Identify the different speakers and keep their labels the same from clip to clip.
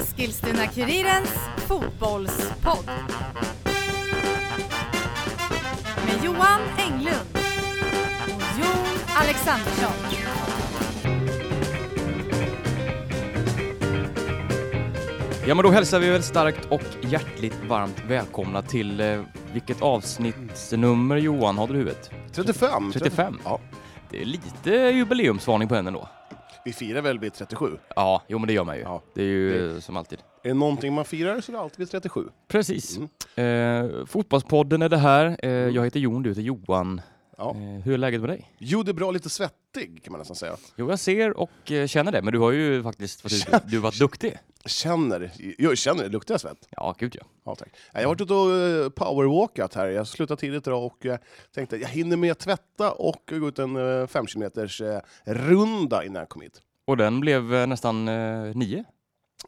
Speaker 1: Eskilstuna-Kurirens fotbollspodd. Med Johan Englund och Jon Alexandersson.
Speaker 2: Ja men då hälsar vi väl starkt och hjärtligt varmt välkomna till eh, vilket avsnittsnummer Johan har du i huvudet?
Speaker 3: 35.
Speaker 2: 35?
Speaker 3: Ja.
Speaker 2: Det är lite jubileumsvarning på henne då.
Speaker 3: Vi firar väl vid 37?
Speaker 2: Ja, jo men det gör man ju.
Speaker 3: Ja.
Speaker 2: Det är ju eh, som alltid.
Speaker 3: Är det någonting man firar så är det alltid vid 37.
Speaker 2: Precis. Eh, fotbollspodden är det här. Eh, jag heter Jon, du heter Johan.
Speaker 3: Ja.
Speaker 2: Eh, hur är läget med dig?
Speaker 3: Jo, det är bra, lite svettig kan man nästan säga.
Speaker 2: Jo jag ser och eh, känner det, men du har ju faktiskt varit, ute- du har varit duktig.
Speaker 3: Känner, jag känner det, luktar jag svett?
Speaker 2: Ja, gud ja.
Speaker 3: Ja, tack. Nej, Jag har varit ute och eh, powerwalkat här. Jag slutade tidigt idag och eh, tänkte jag hinner med att tvätta och gå ut en eh, fem kilometers eh, runda innan jag kom hit.
Speaker 2: Och den blev eh, nästan eh, nio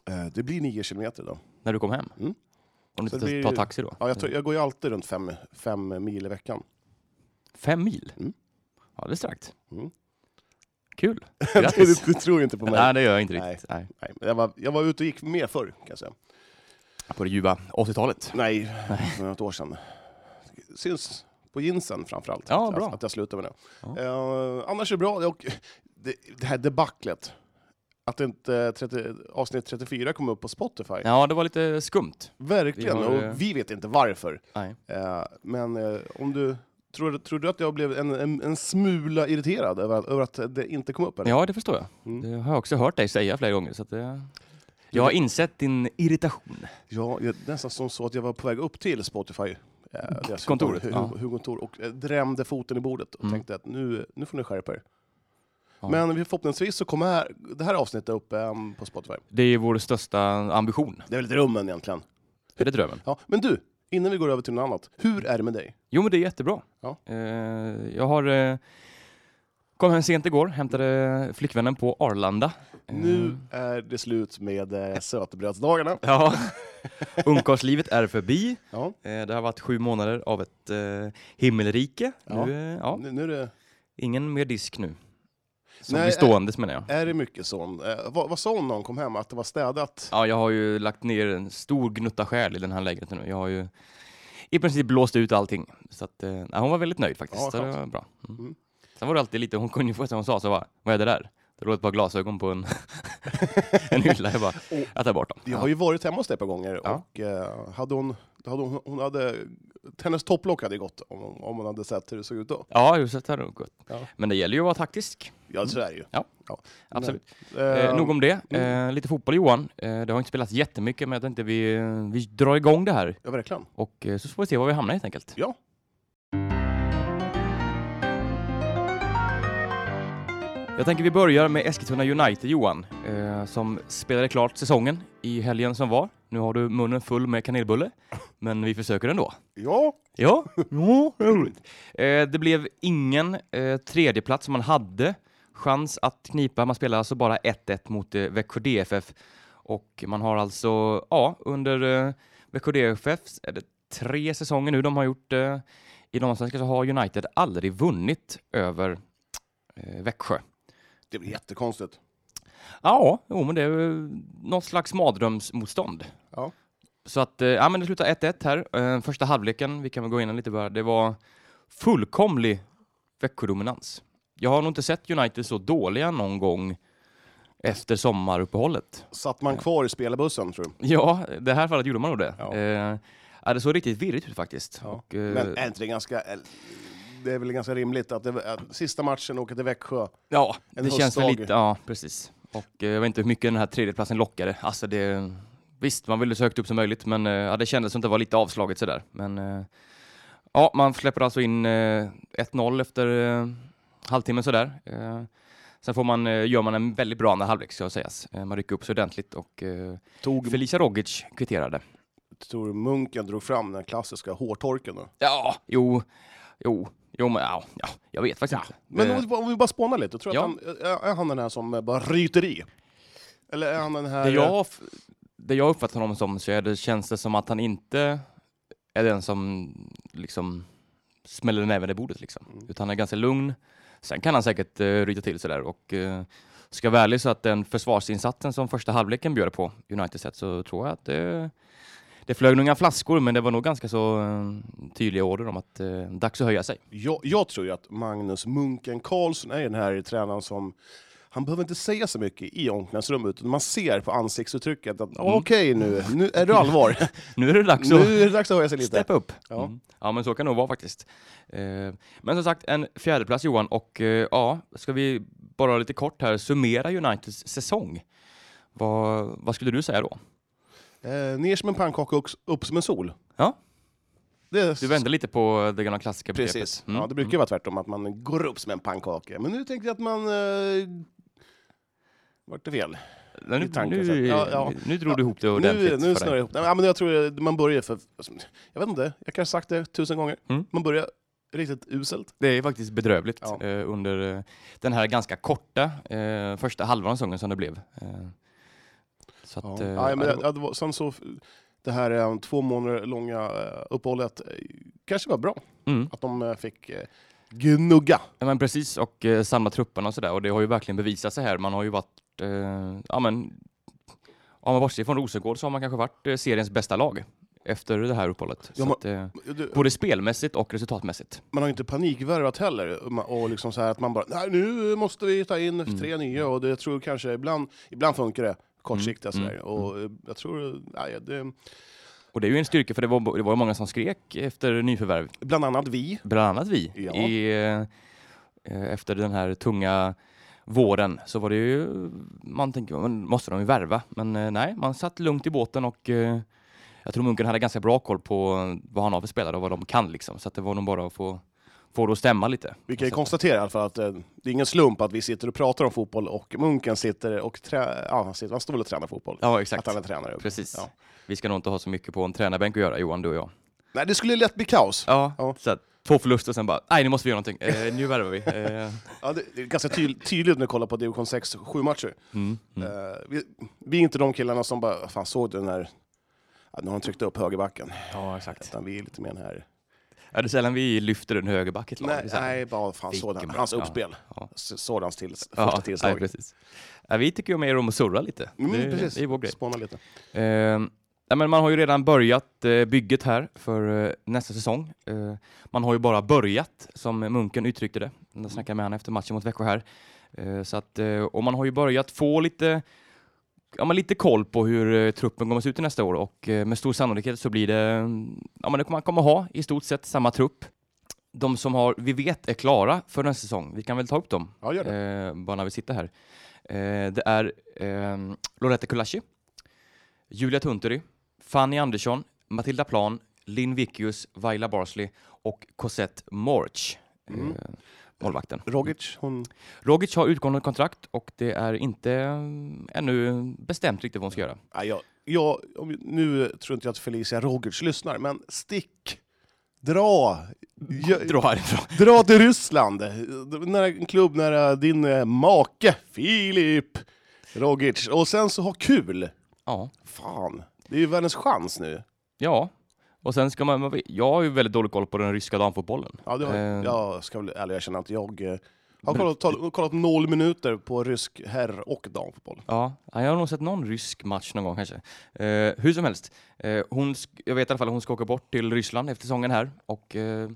Speaker 3: Eh, Det blir nio kilometer då.
Speaker 2: när du kom hem.
Speaker 3: Mm.
Speaker 2: Om du
Speaker 3: Så
Speaker 2: inte
Speaker 3: det blir-
Speaker 2: tar taxi då.
Speaker 3: Ja, jag, tror, jag går ju alltid runt fem, fem mil i veckan.
Speaker 2: Fem mil?
Speaker 3: Mm.
Speaker 2: Ja, det är starkt.
Speaker 3: Mm.
Speaker 2: Kul.
Speaker 3: Du,
Speaker 2: Grattis.
Speaker 3: du tror ju inte på mig.
Speaker 2: Nej, det gör jag inte
Speaker 3: Nej.
Speaker 2: riktigt. Nej.
Speaker 3: Nej, men jag, var, jag var ute och gick mer förr kan jag säga.
Speaker 2: På det ljuva 80-talet.
Speaker 3: Nej, för något år sedan. Syns på jeansen framförallt,
Speaker 2: Ja,
Speaker 3: att,
Speaker 2: bra.
Speaker 3: att jag slutar med det.
Speaker 2: Ja.
Speaker 3: Eh, annars är det bra. Och det, det här debaclet, att inte 30, avsnitt 34 kom upp på Spotify.
Speaker 2: Ja, det var lite skumt.
Speaker 3: Verkligen,
Speaker 2: Vi har, eh,
Speaker 3: och vi vet inte varför.
Speaker 2: Nej.
Speaker 3: Eh, men eh, om du, tror, tror du att jag blev en, en, en smula irriterad över, att- över att det inte kom upp? Eller?
Speaker 2: Ja, det förstår jag.
Speaker 3: Mm.
Speaker 2: Det har jag också hört dig säga flera gånger. Så att det... Jag har insett din irritation.
Speaker 3: Ja, jag, nästan som så att jag var på väg upp till Spotify, eh, deras
Speaker 2: Kontoret,
Speaker 3: huvud-
Speaker 2: ja.
Speaker 3: hu- huvudkontor, och eh, drämde foten i bordet och
Speaker 2: Mm.
Speaker 3: tänkte att nu, nu får ni skärpa er.
Speaker 2: Ja.
Speaker 3: Men vi- förhoppningsvis så kommer här, det här avsnittet upp em, på Spotify.
Speaker 2: Det är vår största ambition.
Speaker 3: Det är väl drömmen egentligen.
Speaker 2: Är det drömmen?
Speaker 3: Ja, men du, innan vi går över till något annat, hur är det med dig?
Speaker 2: Jo, men det är jättebra.
Speaker 3: Ja.
Speaker 2: Eh, jag har... Eh... Kom hem sent igår, hämtade flickvännen på Arlanda. Eh,
Speaker 3: Nu är det slut med eh, sötebrödsdagarna.
Speaker 2: Ja. Ungkarlslivet är förbi.
Speaker 3: Ja.
Speaker 2: Eh, Det har varit sju månader av ett eh, himmelrike.
Speaker 3: Ja.
Speaker 2: Nu, eh, ja,
Speaker 3: Nu, nu är, det,
Speaker 2: ingen mer disk nu. Som
Speaker 3: Nej,
Speaker 2: blir ståendes menar jag.
Speaker 3: är det mycket sån... eh, Vad, vad sa hon när hon kom hem? Att det var städat?
Speaker 2: Ja, jag har ju lagt ner en stor gnutta själ i den här lägenheten nu. Jag har ju i princip blåst ut allting. Så att, eh, nej, hon var väldigt nöjd faktiskt.
Speaker 3: Ja,
Speaker 2: så det
Speaker 3: skönt.
Speaker 2: var bra. Mm.
Speaker 3: Mm.
Speaker 2: Sen var det alltid lite, hon kunde ju få som hon sa, så bara, vad är det där? Det låg ett par glasögon på en, en hylla. Jag bara, jag tar bort dem.
Speaker 3: Jag har ju varit hemma hos dig ett par gånger
Speaker 2: Ja.
Speaker 3: och eh, hade hon, hade hon, hon hade, hennes topplock hade ju gått om, om hon hade sett hur det såg ut då.
Speaker 2: Ja, just det. det hade hon gått.
Speaker 3: Ja.
Speaker 2: Men det gäller ju att vara taktisk.
Speaker 3: Ja, så är det ju.
Speaker 2: Mm. Ja.
Speaker 3: Ja.
Speaker 2: Absolut.
Speaker 3: Eh,
Speaker 2: Eh, nog om det. Eh, lite fotboll Johan. Eh, det har inte spelats jättemycket men jag tänkte vi, eh, vi drar igång det här
Speaker 3: Ja, verkligen.
Speaker 2: och eh, så får vi se var vi hamnar helt enkelt.
Speaker 3: Ja.
Speaker 2: Jag tänker vi börjar med Eskilstuna United Johan eh, som spelade klart säsongen i helgen som var. Nu har du munnen full med kanelbulle men vi försöker ändå.
Speaker 3: Ja.
Speaker 2: Ja, ja roligt. Eh, det blev ingen eh, tredjeplats som man hade chans att knipa. Man spelade alltså bara 1-1 mot eh, Växjö DFF och man har alltså, ja, under eh, Växjö DFF är det tre säsonger nu de har gjort eh, i Damallsvenskan så har United aldrig vunnit över eh, Växjö.
Speaker 3: Det blir jättekonstigt.
Speaker 2: Ja, jo, men det är eh, något slags mardrömsmotstånd.
Speaker 3: Ja.
Speaker 2: Så att, eh, ja men det slutar 1-1 här. Eh, Första halvleken, vi kan väl gå in lite bara, det var fullkomlig Växjödominans. Jag har nog inte sett United så dåliga någon gång efter sommaruppehållet.
Speaker 3: Satt man kvar i spelarbussen, tror du?
Speaker 2: Ja, i det här fallet gjorde man nog det.
Speaker 3: Ja.
Speaker 2: Eh, ja, det såg riktigt virrigt ut faktiskt.
Speaker 3: Ja.
Speaker 2: Och, eh,
Speaker 3: Men är inte det ganska... eller, Det är väl ganska rimligt att, det, att sista matchen åker till Växjö.
Speaker 2: ja,
Speaker 3: en
Speaker 2: det känns väl
Speaker 3: höstdag.
Speaker 2: lite, ja precis. Och eh, jag vet inte hur mycket den här tredjeplatsen lockade. Alltså det, visst, man ville så högt upp som möjligt, men eh, ja, det kändes som att det var lite avslaget sådär. Men eh, ja, man släpper alltså in eh, 1-0 efter eh, halvtimmen sådär. Eh, sen får man, eh, gör man en väldigt bra andra halvlek ska sägas. Eh, man rycker upp sig ordentligt och eh,
Speaker 3: Tog,
Speaker 2: Felicia Rogic kvitterade.
Speaker 3: tror du Munken drog fram den klassiska hårtorken då?
Speaker 2: Ja, jo, jo, jo, men ja, ja jag vet faktiskt inte.
Speaker 3: Men
Speaker 2: Eh,
Speaker 3: om vi- om vi bara spånar lite, tror du
Speaker 2: ja.
Speaker 3: att han, är- är han den här som bara ryter i? Eller är han den här...
Speaker 2: Det jag, det jag uppfattar honom som så är det, känns det som att han inte är den som liksom smäller näven i bordet liksom. Utan han är ganska lugn. Sen kan han säkert uh, ryta till sådär och eh, Ska jag vara ärlig så att den försvarsinsatsen som första halvleken bjöd på United sett så tror jag att det, det flög några flaskor men det var nog ganska så eh, tydliga order om att eh, dags att höja sig.
Speaker 3: Jag, jag tror ju att Magnus Munken Karlsson är den här tränaren som han behöver inte säga så mycket i omklädningsrummet, utan man ser på ansiktsuttrycket att okej nu, nu är det allvar.
Speaker 2: Nu är det dags
Speaker 3: nu
Speaker 2: att
Speaker 3: är det dags att höja sig lite.
Speaker 2: Step up!
Speaker 3: Ja.
Speaker 2: Mm. ja, men så kan det nog vara faktiskt. Eh, men som sagt, en fjärdeplats Johan och eh, ja, ska vi bara lite kort här summera Uniteds säsong? Vad, vad skulle du säga då?
Speaker 3: Eh, ner som en pannkaka och upp som en sol.
Speaker 2: Ja.
Speaker 3: Det,
Speaker 2: Du vände lite på det gamla klassiska begreppet.
Speaker 3: Precis.
Speaker 2: Mm.
Speaker 3: Ja, det brukar ju vara tvärtom, att man går upp som en pannkaka. Men nu tänkte jag att man... Eh, vart det fel?
Speaker 2: Nej,
Speaker 3: i tanken
Speaker 2: nu,
Speaker 3: sen. Ja, ja.
Speaker 2: nu drog du ihop det
Speaker 3: Nu,
Speaker 2: ordentligt
Speaker 3: nu
Speaker 2: för
Speaker 3: snurrar jag
Speaker 2: dig.
Speaker 3: ihop det. Ja, men jag tror att man börjar för... alltså, Jag vet inte, jag kanske sagt det tusen gånger.
Speaker 2: Mm.
Speaker 3: Man börjar riktigt uselt.
Speaker 2: Det är faktiskt bedrövligt
Speaker 3: Ja.
Speaker 2: eh, under eh, den här ganska korta eh, första halvan av säsongen som det blev. Eh, så att, eh,
Speaker 3: ja,
Speaker 2: ja,
Speaker 3: men det,
Speaker 2: det var-
Speaker 3: ja, det var, sen så, det här eh, två månader långa eh, uppehållet eh, kanske var bra.
Speaker 2: mm.
Speaker 3: Att de eh, fick eh, gnugga.
Speaker 2: Ja, men precis, och eh, samla trupperna och sådär. Och det har ju verkligen bevisat sig här. Man har ju varit, eh, ja men, om man bortser från Rosengård så har man kanske varit eh, seriens bästa lag efter det här uppehållet.
Speaker 3: Ja,
Speaker 2: så
Speaker 3: men-
Speaker 2: att, eh,
Speaker 3: Du,
Speaker 2: både spelmässigt och resultatmässigt.
Speaker 3: man har inte panikvärvat heller. ma- Och liksom så här att man bara, Nej, nu måste vi ta in
Speaker 2: Mm.
Speaker 3: tre nya. Och det, jag tror kanske ibland, ibland funkar det kortsiktiga
Speaker 2: Mm,
Speaker 3: sådär.
Speaker 2: mm,
Speaker 3: Och eh, jag tror, nej, det,
Speaker 2: Och det är ju en styrka för det var, det var ju många som skrek efter nyförvärv.
Speaker 3: bland annat vi.
Speaker 2: Bland annat vi.
Speaker 3: Ja.
Speaker 2: I, eh, eh, efter den här tunga våren så var det ju, man tänker, "Men måste de ju värva? Men eh, nej, man satt lugnt i båten och eh, jag tror Munken hade ganska bra koll på vad han har för spelare och vad de kan liksom. Så att det var nog bara att få, få det att stämma lite.
Speaker 3: Vi kan ju
Speaker 2: Så att-
Speaker 3: konstatera i alla fall att eh, det är ingen slump att vi sitter och pratar om fotboll och Munken sitter och trä, ja, han, sitter, han står väl och tränar fotboll.
Speaker 2: Ja,
Speaker 3: Att
Speaker 2: exakt.
Speaker 3: han är tränare.
Speaker 2: Precis.
Speaker 3: Ja.
Speaker 2: Vi ska nog inte ha så mycket på en tränarbänk att göra, Johan, du och jag.
Speaker 3: Nej, det skulle lätt bli kaos.
Speaker 2: Ja,
Speaker 3: Ja.
Speaker 2: Så att, två förluster sen bara, nej nu måste vi göra någonting, eh, nu värvar vi. Eh,
Speaker 3: Ja, det det är ganska ty- tydligt när jag kollar på division 6 7-matcher.
Speaker 2: mm, mm.
Speaker 3: Eh, vi, vi är inte de killarna som bara, fan såg du den här, ja, nu har de tryckt upp högerbacken.
Speaker 2: Ja, exakt.
Speaker 3: Utan vi är lite mer den här,
Speaker 2: Ja, det är sällan vi lyfter en högerback i ett lag. Det
Speaker 3: nej,
Speaker 2: är så här-
Speaker 3: nej bara fan såg den,
Speaker 2: Vilken bra-
Speaker 3: hans
Speaker 2: ja,
Speaker 3: uppspel.
Speaker 2: ja.
Speaker 3: Så- Såg hans till, första
Speaker 2: nej,
Speaker 3: tillslag.
Speaker 2: precis. Ja, vi tycker ju mer om att surra lite.
Speaker 3: Mm,
Speaker 2: det,
Speaker 3: precis.
Speaker 2: det är vår grej.
Speaker 3: Spåna lite.
Speaker 2: Ehm, nej, men man har ju redan börjat eh, bygget här för eh, nästa säsong. Eh, man har ju bara börjat, som Munken uttryckte det. Jag snackade med honom efter matchen mot Växjö här. Eh, så att, eh, och man har ju börjat få lite, ja, men lite koll på hur eh, truppen kommer se ut i nästa år och eh, med stor sannolikhet så blir det, mm, ja, men det kommer, man kommer ha i stort sett samma trupp. De som har, vi vet är klara för nästa säsong, vi kan väl ta upp dem
Speaker 3: Ja, gör det.
Speaker 2: eh, bara när vi sitter här. Eh, det är eh, Loretta Kulashi, Julia Tunturi, Fanny Andersson, Matilda Plan, Linn Vickius, Vaila Barsley och Cosette Morch,
Speaker 3: Mm.
Speaker 2: eh, målvakten.
Speaker 3: Rogic, hon,
Speaker 2: Rogic har utgående kontrakt och det är inte mm, ännu bestämt riktigt vad hon ska göra.
Speaker 3: nej, jag, jag, om, nu tror inte jag att Felicia Rogic lyssnar, men stick, dra, gö-
Speaker 2: Dra härifrån.
Speaker 3: dra till Ryssland. Nära, en klubb nära din eh, make, Filip Rogic. Och sen så ha kul.
Speaker 2: Ja.
Speaker 3: Fan, det är ju världens chans nu.
Speaker 2: ja. Och sen ska man, man- jag har ju väldigt dålig koll på den ryska damfotbollen.
Speaker 3: Ja, det har,
Speaker 2: Eh.
Speaker 3: Jag ska väl ärligt erkänna att jag eh, har kollat, tal- kollat noll minuter på rysk herr och damfotboll.
Speaker 2: Ja, jag har nog sett någon rysk match någon gång kanske. Eh, hur som helst, eh, hon sk- jag vet i alla fall att hon ska åka bort till Ryssland efter säsongen här och eh,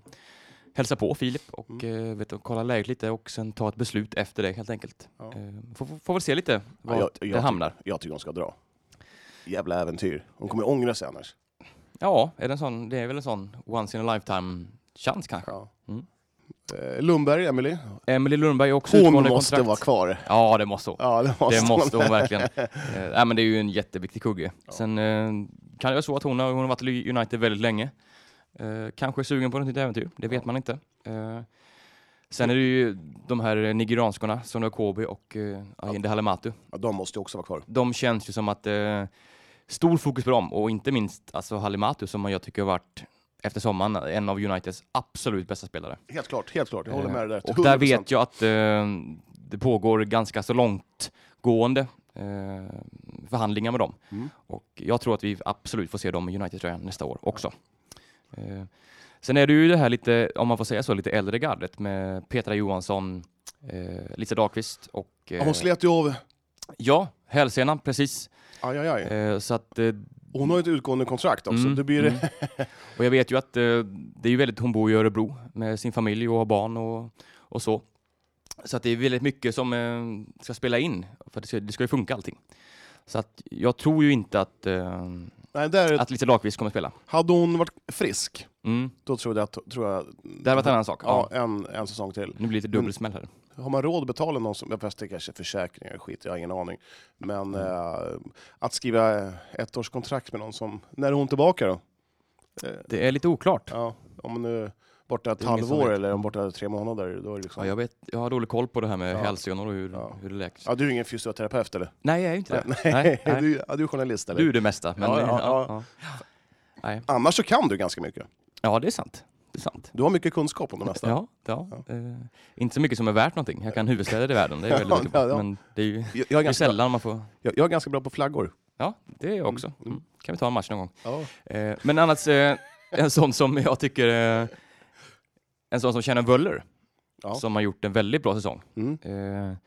Speaker 2: hälsa på Filip och
Speaker 3: Mm.
Speaker 2: eh, vet, du, kolla läget lite och sen ta ett beslut efter det helt enkelt.
Speaker 3: Ja.
Speaker 2: Eh, får, får, får väl se lite var
Speaker 3: jag- jag
Speaker 2: det
Speaker 3: tyck-
Speaker 2: hamnar.
Speaker 3: Jag tycker de ska dra. Jävla äventyr. Hon kommer ju ångra sig annars.
Speaker 2: Ja, är det, en sån, det är väl en sån once in a lifetime chans kanske.
Speaker 3: Ja.
Speaker 2: Mm.
Speaker 3: Eh, Lundberg, Emily.
Speaker 2: Emelie Lundberg är också
Speaker 3: Hon
Speaker 2: utgående
Speaker 3: måste
Speaker 2: kontrakt.
Speaker 3: vara kvar.
Speaker 2: Ja, det måste hon.
Speaker 3: Ja, det måste,
Speaker 2: Det måste
Speaker 3: hon.
Speaker 2: hon verkligen. Eh, nej, men det är ju en jätteviktig kugge. Sen eh, kan det vara så att hon har, hon har varit i United väldigt länge. Eh, kanske är sugen på något nytt äventyr, det vet man inte. Eh, sen är det ju de här nigerianskorna, Sonia Kobi och eh, Ayinde Halimatu.
Speaker 3: Ja, de måste ju också vara kvar.
Speaker 2: De känns ju som att eh, stor fokus på dem och inte minst alltså Halimatu som jag tycker har varit efter sommaren en av Uniteds absolut bästa spelare.
Speaker 3: Helt klart, helt klart. Jag håller med dig där.
Speaker 2: Eh, Och där
Speaker 3: 100%.
Speaker 2: vet jag att eh, det pågår ganska så långtgående eh, förhandlingar med dem.
Speaker 3: Mm.
Speaker 2: Och jag tror att vi absolut får se dem i United-tröjan nästa år också. Eh, sen är det ju det här lite, om man får säga så, lite äldre gardet med Petra Johansson, eh, Lisa Dahlqvist och... eh,
Speaker 3: Ja, Hon slet ju av...
Speaker 2: Ja, hälsenan, precis.
Speaker 3: Aj, aj, aj.
Speaker 2: Eh, så att, eh,
Speaker 3: Och Hon har ju ett utgående kontrakt också.
Speaker 2: Mm,
Speaker 3: Det blir
Speaker 2: mm. och jag vet ju att eh, det är ju väldigt, hon bor i Örebro med sin familj och har barn och, och så. Så att det är väldigt mycket som eh, ska spela in, för det ska, det ska ju funka allting. Så att jag tror ju inte att, eh,
Speaker 3: Nej, där,
Speaker 2: att Lisa Dahlqvist kommer spela.
Speaker 3: Hade hon varit frisk,
Speaker 2: Mm.
Speaker 3: då tror jag... att- Tror jag
Speaker 2: Det hade varit en annan sak.
Speaker 3: Mm. Ja, Mm. en, en säsong till.
Speaker 2: Nu blir det lite dubbelsmäll här.
Speaker 3: Har man råd att betala någon som... Jag fast det kanske är försäkringar och skit, jag har ingen aning. Men
Speaker 2: Mm.
Speaker 3: eh, att skriva ett års kontrakt med någon som... När är hon tillbaka då? Eh,
Speaker 2: Det är lite oklart.
Speaker 3: ja, om hon nu är borta ett
Speaker 2: Det är ingen som
Speaker 3: halvår
Speaker 2: vet.
Speaker 3: eller om borta tre månader, då är det
Speaker 2: Ja,
Speaker 3: liksom...
Speaker 2: jag, vet, jag har dålig koll på det här med
Speaker 3: Ja.
Speaker 2: hälsenor och hur,
Speaker 3: Ja.
Speaker 2: hur det läks.
Speaker 3: Ja, du är ingen fysioterapeut eller?
Speaker 2: Nej, jag är ju inte det.
Speaker 3: Nej,
Speaker 2: Nej, nej.
Speaker 3: Du, ja, du är journalist eller?
Speaker 2: Du är det mesta. Men,
Speaker 3: Ja,
Speaker 2: ja,
Speaker 3: ja,
Speaker 2: ja,
Speaker 3: ja.
Speaker 2: ja.
Speaker 3: Annars så kan du ganska mycket.
Speaker 2: det är sant. Det är sant.
Speaker 3: Du har mycket kunskap om det mesta.
Speaker 2: Ja, ja. Eh, inte så mycket som är värt någonting. Jag kan huvudstäder i världen, det är jag väldigt mycket
Speaker 3: Ja,
Speaker 2: på.
Speaker 3: ja.
Speaker 2: Men det är ju
Speaker 3: Jag, jag, är
Speaker 2: det är
Speaker 3: ganska,
Speaker 2: sällan man får...
Speaker 3: jag, jag är ganska bra på flaggor.
Speaker 2: Ja, det är jag också. Mm. Kan vi ta en match någon gång.
Speaker 3: Ja.
Speaker 2: Eh, men annars, eh, en sån som jag tycker... Eh, en sån som Shannon Wöller,
Speaker 3: Ja.
Speaker 2: som har gjort en väldigt bra säsong.
Speaker 3: Mm.
Speaker 2: Eh,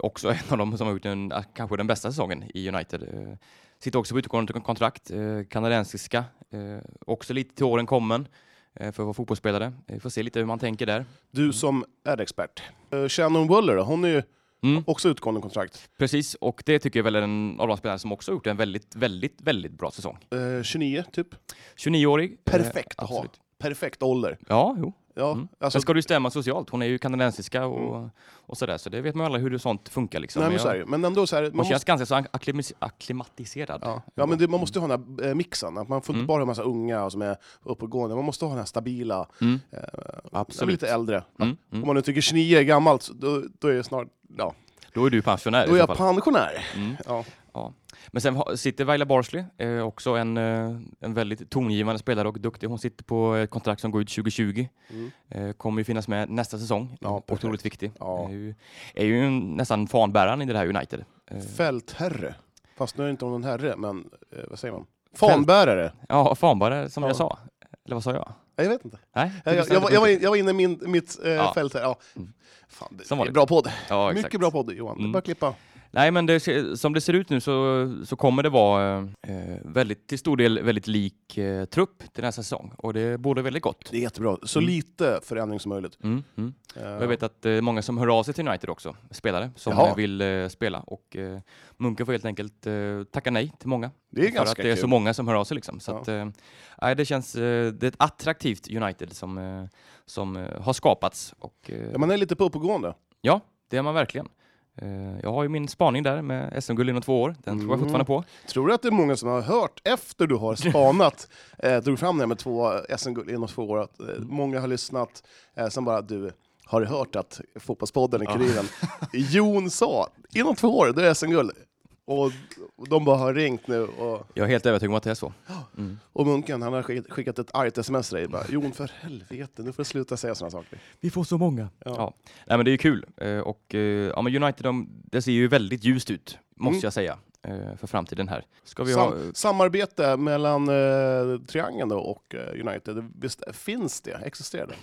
Speaker 2: också en av dem som har gjort en, eh, kanske den bästa säsongen i United. Eh, sitter också på utgående kon- kontrakt, eh, kanadensiska. Eh, också lite till åren kommen eh, för att vara fotbollsspelare. Eh, Vi får se lite hur man tänker där.
Speaker 3: Du som är expert. Eh, Shannon Wöller då, hon är ju
Speaker 2: Mm,
Speaker 3: också utgående kontrakt.
Speaker 2: precis, och det tycker jag väl är en av de spelare som också har gjort en väldigt, väldigt, väldigt bra säsong.
Speaker 3: Eh, 29 typ.
Speaker 2: 29-årig.
Speaker 3: Perfekt att ha.
Speaker 2: absolut.
Speaker 3: Perfekt ålder.
Speaker 2: Ja, jo.
Speaker 3: Ja,
Speaker 2: Mm.
Speaker 3: alltså, Mm.
Speaker 2: Sen ska du ju stämma socialt. Hon är ju kanadensiska och, och sådär, så det vet man ju alla hur det sånt funkar liksom.
Speaker 3: nej, men,
Speaker 2: Jag-
Speaker 3: så är det. men ändå så här, man
Speaker 2: hon
Speaker 3: måste,
Speaker 2: känns ganska så akklimis- akklimatiserad.
Speaker 3: ja. Ja, men det, man måste ju ha den här eh, mixen, att man får inte
Speaker 2: Mm.
Speaker 3: bara ha en massa unga som är uppåtgående, man måste ha den här stabila,
Speaker 2: Mm.
Speaker 3: eh, de är
Speaker 2: Absolut.
Speaker 3: lite äldre.
Speaker 2: Mm, mm.
Speaker 3: Om man nu tycker 29 är gammalt, så då, då är det snart, ja,
Speaker 2: Då är du pensionär
Speaker 3: då
Speaker 2: i
Speaker 3: är
Speaker 2: så
Speaker 3: jag
Speaker 2: fall.
Speaker 3: pensionär.
Speaker 2: Mm.
Speaker 3: Ja.
Speaker 2: Men sen har- sitter Viola Barsley, eh, också en, eh, en väldigt tongivande spelare och duktig. Hon sitter på ett kontrakt som går ut 2020.
Speaker 3: Mm.
Speaker 2: Eh, kommer ju finnas med nästa säsong.
Speaker 3: Ja,
Speaker 2: Ja,
Speaker 3: perfekt.
Speaker 2: Otroligt viktig.
Speaker 3: Ja.
Speaker 2: Är, ju, är ju en- nästan fanbäraren i det här United. Eh,
Speaker 3: Fältherre. Fast nu är det inte om en herre, men eh, vad säger man? Fanbärare.
Speaker 2: ja, fanbärare som
Speaker 3: Ja.
Speaker 2: jag sa. Eller vad sa jag?
Speaker 3: Nej, Jag vet inte.
Speaker 2: Nej,
Speaker 3: Jag, jag, jag, var- jag, var, in- jag var inne i min, mitt eh,
Speaker 2: Ja.
Speaker 3: fält här. Ja.
Speaker 2: Mm.
Speaker 3: Fan, det,
Speaker 2: Som
Speaker 3: det är
Speaker 2: vanligt.
Speaker 3: bra podd.
Speaker 2: ja, exakt.
Speaker 3: Mycket bra podd Johan. Det är
Speaker 2: Mm.
Speaker 3: bara att klippa.
Speaker 2: Nej, men det, ser- som det ser ut nu så, så kommer det vara eh, väldigt, till stor del väldigt lik eh, trupp till nästa säsong och det borde väldigt gott.
Speaker 3: Det är jättebra. Så
Speaker 2: Mm.
Speaker 3: lite förändring som möjligt.
Speaker 2: Mm, mm.
Speaker 3: Eh,
Speaker 2: Och Jag vet att eh, många som hör av sig till United också, spelare som
Speaker 3: Jaha.
Speaker 2: eh, vill eh, spela och eh, Munke får helt enkelt eh, tacka nej till många.
Speaker 3: det är
Speaker 2: För att
Speaker 3: ganska
Speaker 2: det är
Speaker 3: kul.
Speaker 2: så många som hör av sig liksom. Så
Speaker 3: Ja.
Speaker 2: att, eh, nej, det känns, eh, det är ett attraktivt United som, eh, som eh, har skapats och eh,
Speaker 3: ja, man är lite på uppåtgående.
Speaker 2: det är man verkligen. Eh, jag har ju min spaning där med SM-guld inom två år, den tror
Speaker 3: Mm.
Speaker 2: jag fortfarande på.
Speaker 3: Tror du att det är många som har hört efter du har spanat, eh, drog fram det här med två SM-guld inom två år, att eh, många har lyssnat, eh, sen bara du, har du hört att fotbollspodden i
Speaker 2: Ja.
Speaker 3: Kuriren, Jon sa, inom två år, då är det SM-guld. Och och de bara har ringt nu och,
Speaker 2: Jag är helt övertygad om att det är så. Mm.
Speaker 3: och munken han har skick- skickat ett argt sms till dig. Bara, Jon för helvete, nu får du sluta säga sådana saker.
Speaker 2: Vi får så många.
Speaker 3: Ja.
Speaker 2: Ja. Nej, men det är ju kul. Eh, Och, eh, ja, men United de, det ser ju väldigt ljust ut, måste
Speaker 3: Mm.
Speaker 2: jag säga, eh, för framtiden här. Ska vi ha...
Speaker 3: Sam, samarbete mellan eh, Triangeln då och eh, United, visst finns det? Existerar det?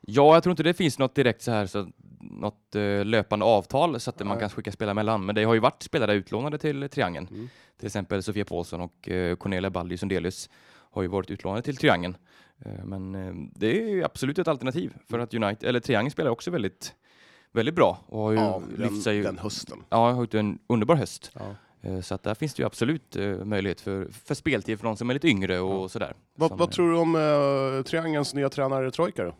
Speaker 2: Ja, jag tror inte det finns något direkt så här, så, något eh, löpande avtal så att man
Speaker 3: Nej.
Speaker 2: kan skicka spelare mellan. Men det har ju varit spelare utlånade till Triangeln.
Speaker 3: Mm.
Speaker 2: Till exempel Sofia Paulsson och eh, Cornelia Baldi Sundelius har ju varit utlånade till Triangeln. Eh, Men eh, det är ju absolut ett alternativ för att United, eller Triangeln spelar också väldigt, väldigt bra och har ju
Speaker 3: Ja,
Speaker 2: lyft sig
Speaker 3: den, den hösten.
Speaker 2: Ja, jag har gjort en underbar höst.
Speaker 3: Ja.
Speaker 2: Eh, Så att där finns det ju absolut eh, möjlighet för, för speltid för de som är lite yngre och sådär.
Speaker 3: Vad,
Speaker 2: Som,
Speaker 3: vad
Speaker 2: eh,
Speaker 3: tror du om eh, Triangelns nya tränare Trojka då?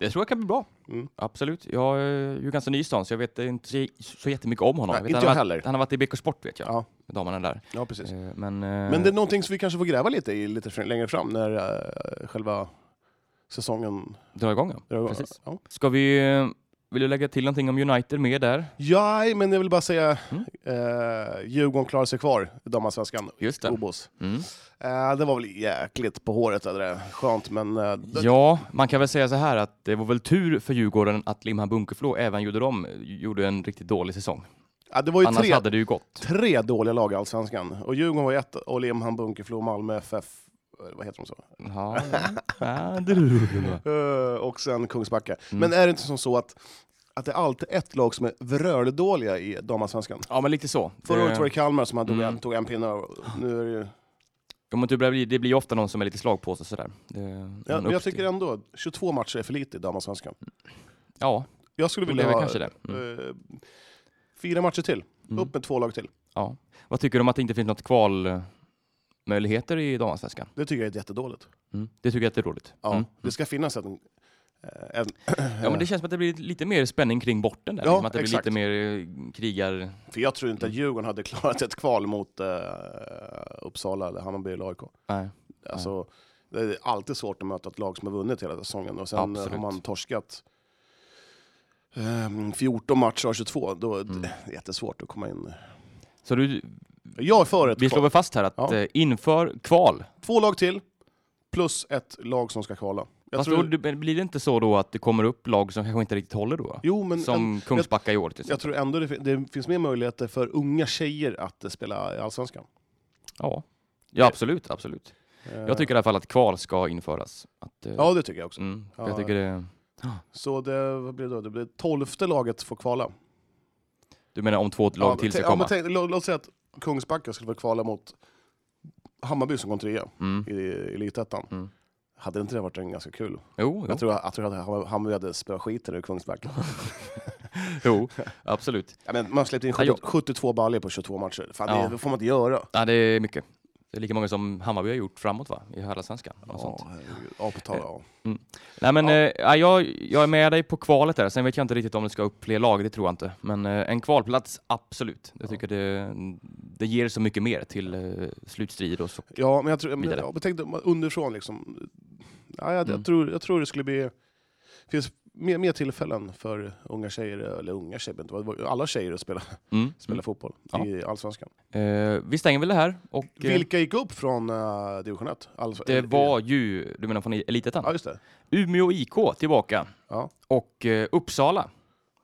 Speaker 2: Det tror jag kan bli bra.
Speaker 3: Mm.
Speaker 2: Absolut. Jag är ju ganska ny i stan så jag vet inte så, så jättemycket om honom.
Speaker 3: Nej,
Speaker 2: vet
Speaker 3: inte
Speaker 2: han
Speaker 3: jag
Speaker 2: har varit-
Speaker 3: heller.
Speaker 2: Han har varit i BK Sport vet jag,
Speaker 3: Ja.
Speaker 2: damerna där.
Speaker 3: Ja, precis.
Speaker 2: Eh, Men, eh,
Speaker 3: Men det är någonting som vi kanske får gräva lite i lite fr- längre fram när eh, själva säsongen
Speaker 2: dra igång ja.
Speaker 3: drar igång.
Speaker 2: Precis.
Speaker 3: Ja.
Speaker 2: Ska vi, eh, vill du lägga till någonting om United mer där?
Speaker 3: ja, men jag vill bara säga
Speaker 2: Mm.
Speaker 3: eh, Djurgården klarar sig kvar i damallsvenskan.
Speaker 2: Just det.
Speaker 3: Obos.
Speaker 2: Mm.
Speaker 3: Eh, det var väl jäkligt på håret, det där. skönt men... Eh, det,
Speaker 2: Ja, man kan väl säga så här att det var väl tur för Djurgården att Limhamn Bunkeflo även gjorde de, gjorde en riktigt dålig säsong.
Speaker 3: ja, det var ju
Speaker 2: Annars
Speaker 3: tre,
Speaker 2: hade det ju gått.
Speaker 3: tre dåliga lag i Allsvenskan. Och Djurgården var ju ett, och Limhamn, Bunkeflo, Malmö FF, eh, vad heter de så?
Speaker 2: Ja, ja, det är det.
Speaker 3: Eh, och sen Kungsbacka.
Speaker 2: Mm.
Speaker 3: Men är det inte som så att att det alltid är ett lag som är vröldåliga i damallsvenskan.
Speaker 2: Ja, men lite så.
Speaker 3: Förra året
Speaker 2: Det-
Speaker 3: var det Kalmar som hade
Speaker 2: Mm.
Speaker 3: tog en pinne, och nu är det ju...
Speaker 2: Ja, men typ, det blir, det blir ofta någon som är lite slagpåse sådär. Det, men
Speaker 3: Ja, men
Speaker 2: upp
Speaker 3: jag
Speaker 2: till-
Speaker 3: tycker ändå att 22 matcher är för lite i damallsvenskan.
Speaker 2: Ja,
Speaker 3: Jag skulle
Speaker 2: det
Speaker 3: vilja
Speaker 2: blir väl
Speaker 3: ha
Speaker 2: kanske det. Mm.
Speaker 3: eh, fyra matcher till,
Speaker 2: Mm.
Speaker 3: upp med två lag till.
Speaker 2: Ja. Vad tycker du om att det inte finns något kvalmöjligheter i damallsvenskan?
Speaker 3: Det tycker jag är jättedåligt.
Speaker 2: Mm. Det tycker jag att det är roligt.
Speaker 3: Ja,
Speaker 2: Mm.
Speaker 3: Det ska finnas en... eh, en
Speaker 2: Ja, men det känns som att det blir lite mer spänning kring borten där.
Speaker 3: Ja,
Speaker 2: liksom att det
Speaker 3: exakt.
Speaker 2: blir lite mer eh, krigar...
Speaker 3: För jag tror inte att Djurgården hade klarat ett kval mot eh, Uppsala eller Hammarby eller AIK.
Speaker 2: Nej.
Speaker 3: Alltså, det är alltid svårt att möta ett lag som har vunnit hela säsongen och sen eh,
Speaker 2: Absolut.
Speaker 3: har man torskat ehm, 14 matcher av 22. Då är det
Speaker 2: Mm.
Speaker 3: jättesvårt att komma in.
Speaker 2: Så du,
Speaker 3: Jag är för ett
Speaker 2: vi slår
Speaker 3: kval.
Speaker 2: väl fast här att
Speaker 3: Ja.
Speaker 2: eh, inför kval,
Speaker 3: Två lag till, plus ett lag som ska kvala. Jag
Speaker 2: fast
Speaker 3: tror,
Speaker 2: då det- blir det inte så då att det kommer upp lag som kanske inte riktigt håller då?
Speaker 3: jo, men en,
Speaker 2: som Kungsbacka i år till
Speaker 3: jag
Speaker 2: exempel.
Speaker 3: tror ändå det, fin- det finns mer möjligheter för unga tjejer att eh, spela i Allsvenskan.
Speaker 2: Ja. ja, absolut, absolut.
Speaker 3: Eh,
Speaker 2: Jag tycker i alla fall att kval ska införas. Att, eh,
Speaker 3: Ja, det tycker jag också.
Speaker 2: mm, för
Speaker 3: Ja.
Speaker 2: Jag tycker det,
Speaker 3: Så det, vad blir det då? Det blir tolfte laget får kvala.
Speaker 2: du menar om två lag
Speaker 3: Ja,
Speaker 2: till ska
Speaker 3: tänk- ja,
Speaker 2: komma?
Speaker 3: men tänk, låt, låt säga att Kungsbacka skulle få kvala mot Hammarby som kom trea
Speaker 2: Mm.
Speaker 3: i i Elitettan.
Speaker 2: Mm.
Speaker 3: Hade inte det varit en ganska kul?
Speaker 2: Jo, jo,
Speaker 3: Jag tror, jag tror att Hammar- Hammarby hade spöat skiten ur Kungsbacka.
Speaker 2: jo, absolut.
Speaker 3: ja, men man släppte in
Speaker 2: Ja,
Speaker 3: 70,
Speaker 2: jo.
Speaker 3: 72 baljor på 22 matcher. Fan,
Speaker 2: Ja.
Speaker 3: det, det får man inte göra.
Speaker 2: Ja, det är mycket. Det är lika många som Hammarby har gjort framåt va? i herrallsvenskan. och sånt. Eh,
Speaker 3: herregud. ja, på tal, ja.
Speaker 2: Nej men
Speaker 3: Ja.
Speaker 2: eh, ja. jag, jag är med dig på kvalet där, sen vet jag inte riktigt om det ska upp fler lag, det tror jag inte. Men eh, en kvalplats, absolut. Jag tycker det, det ger så mycket mer till eh, slutstrid och så.
Speaker 3: ja, men jag tror, men,
Speaker 2: Vidare.
Speaker 3: ja, men tänk dig, man- underifrån liksom. Ja, jag,
Speaker 2: Mm.
Speaker 3: jag, tror, jag tror det skulle bli... Det finns mer, mer tillfällen för unga tjejer, eller unga tjejer, det var- alla tjejer att spela,
Speaker 2: Mm.
Speaker 3: spela fotboll
Speaker 2: Ja.
Speaker 3: i Allsvenskan.
Speaker 2: Eh, vi stänger väl det här och eh,
Speaker 3: Vilka gick upp från uh, division 1? Alltså,
Speaker 2: det
Speaker 3: eh,
Speaker 2: var ju, du menar från Elitettan?
Speaker 3: Ja, just det.
Speaker 2: Umeå IK tillbaka
Speaker 3: Ja.
Speaker 2: och eh, Uppsala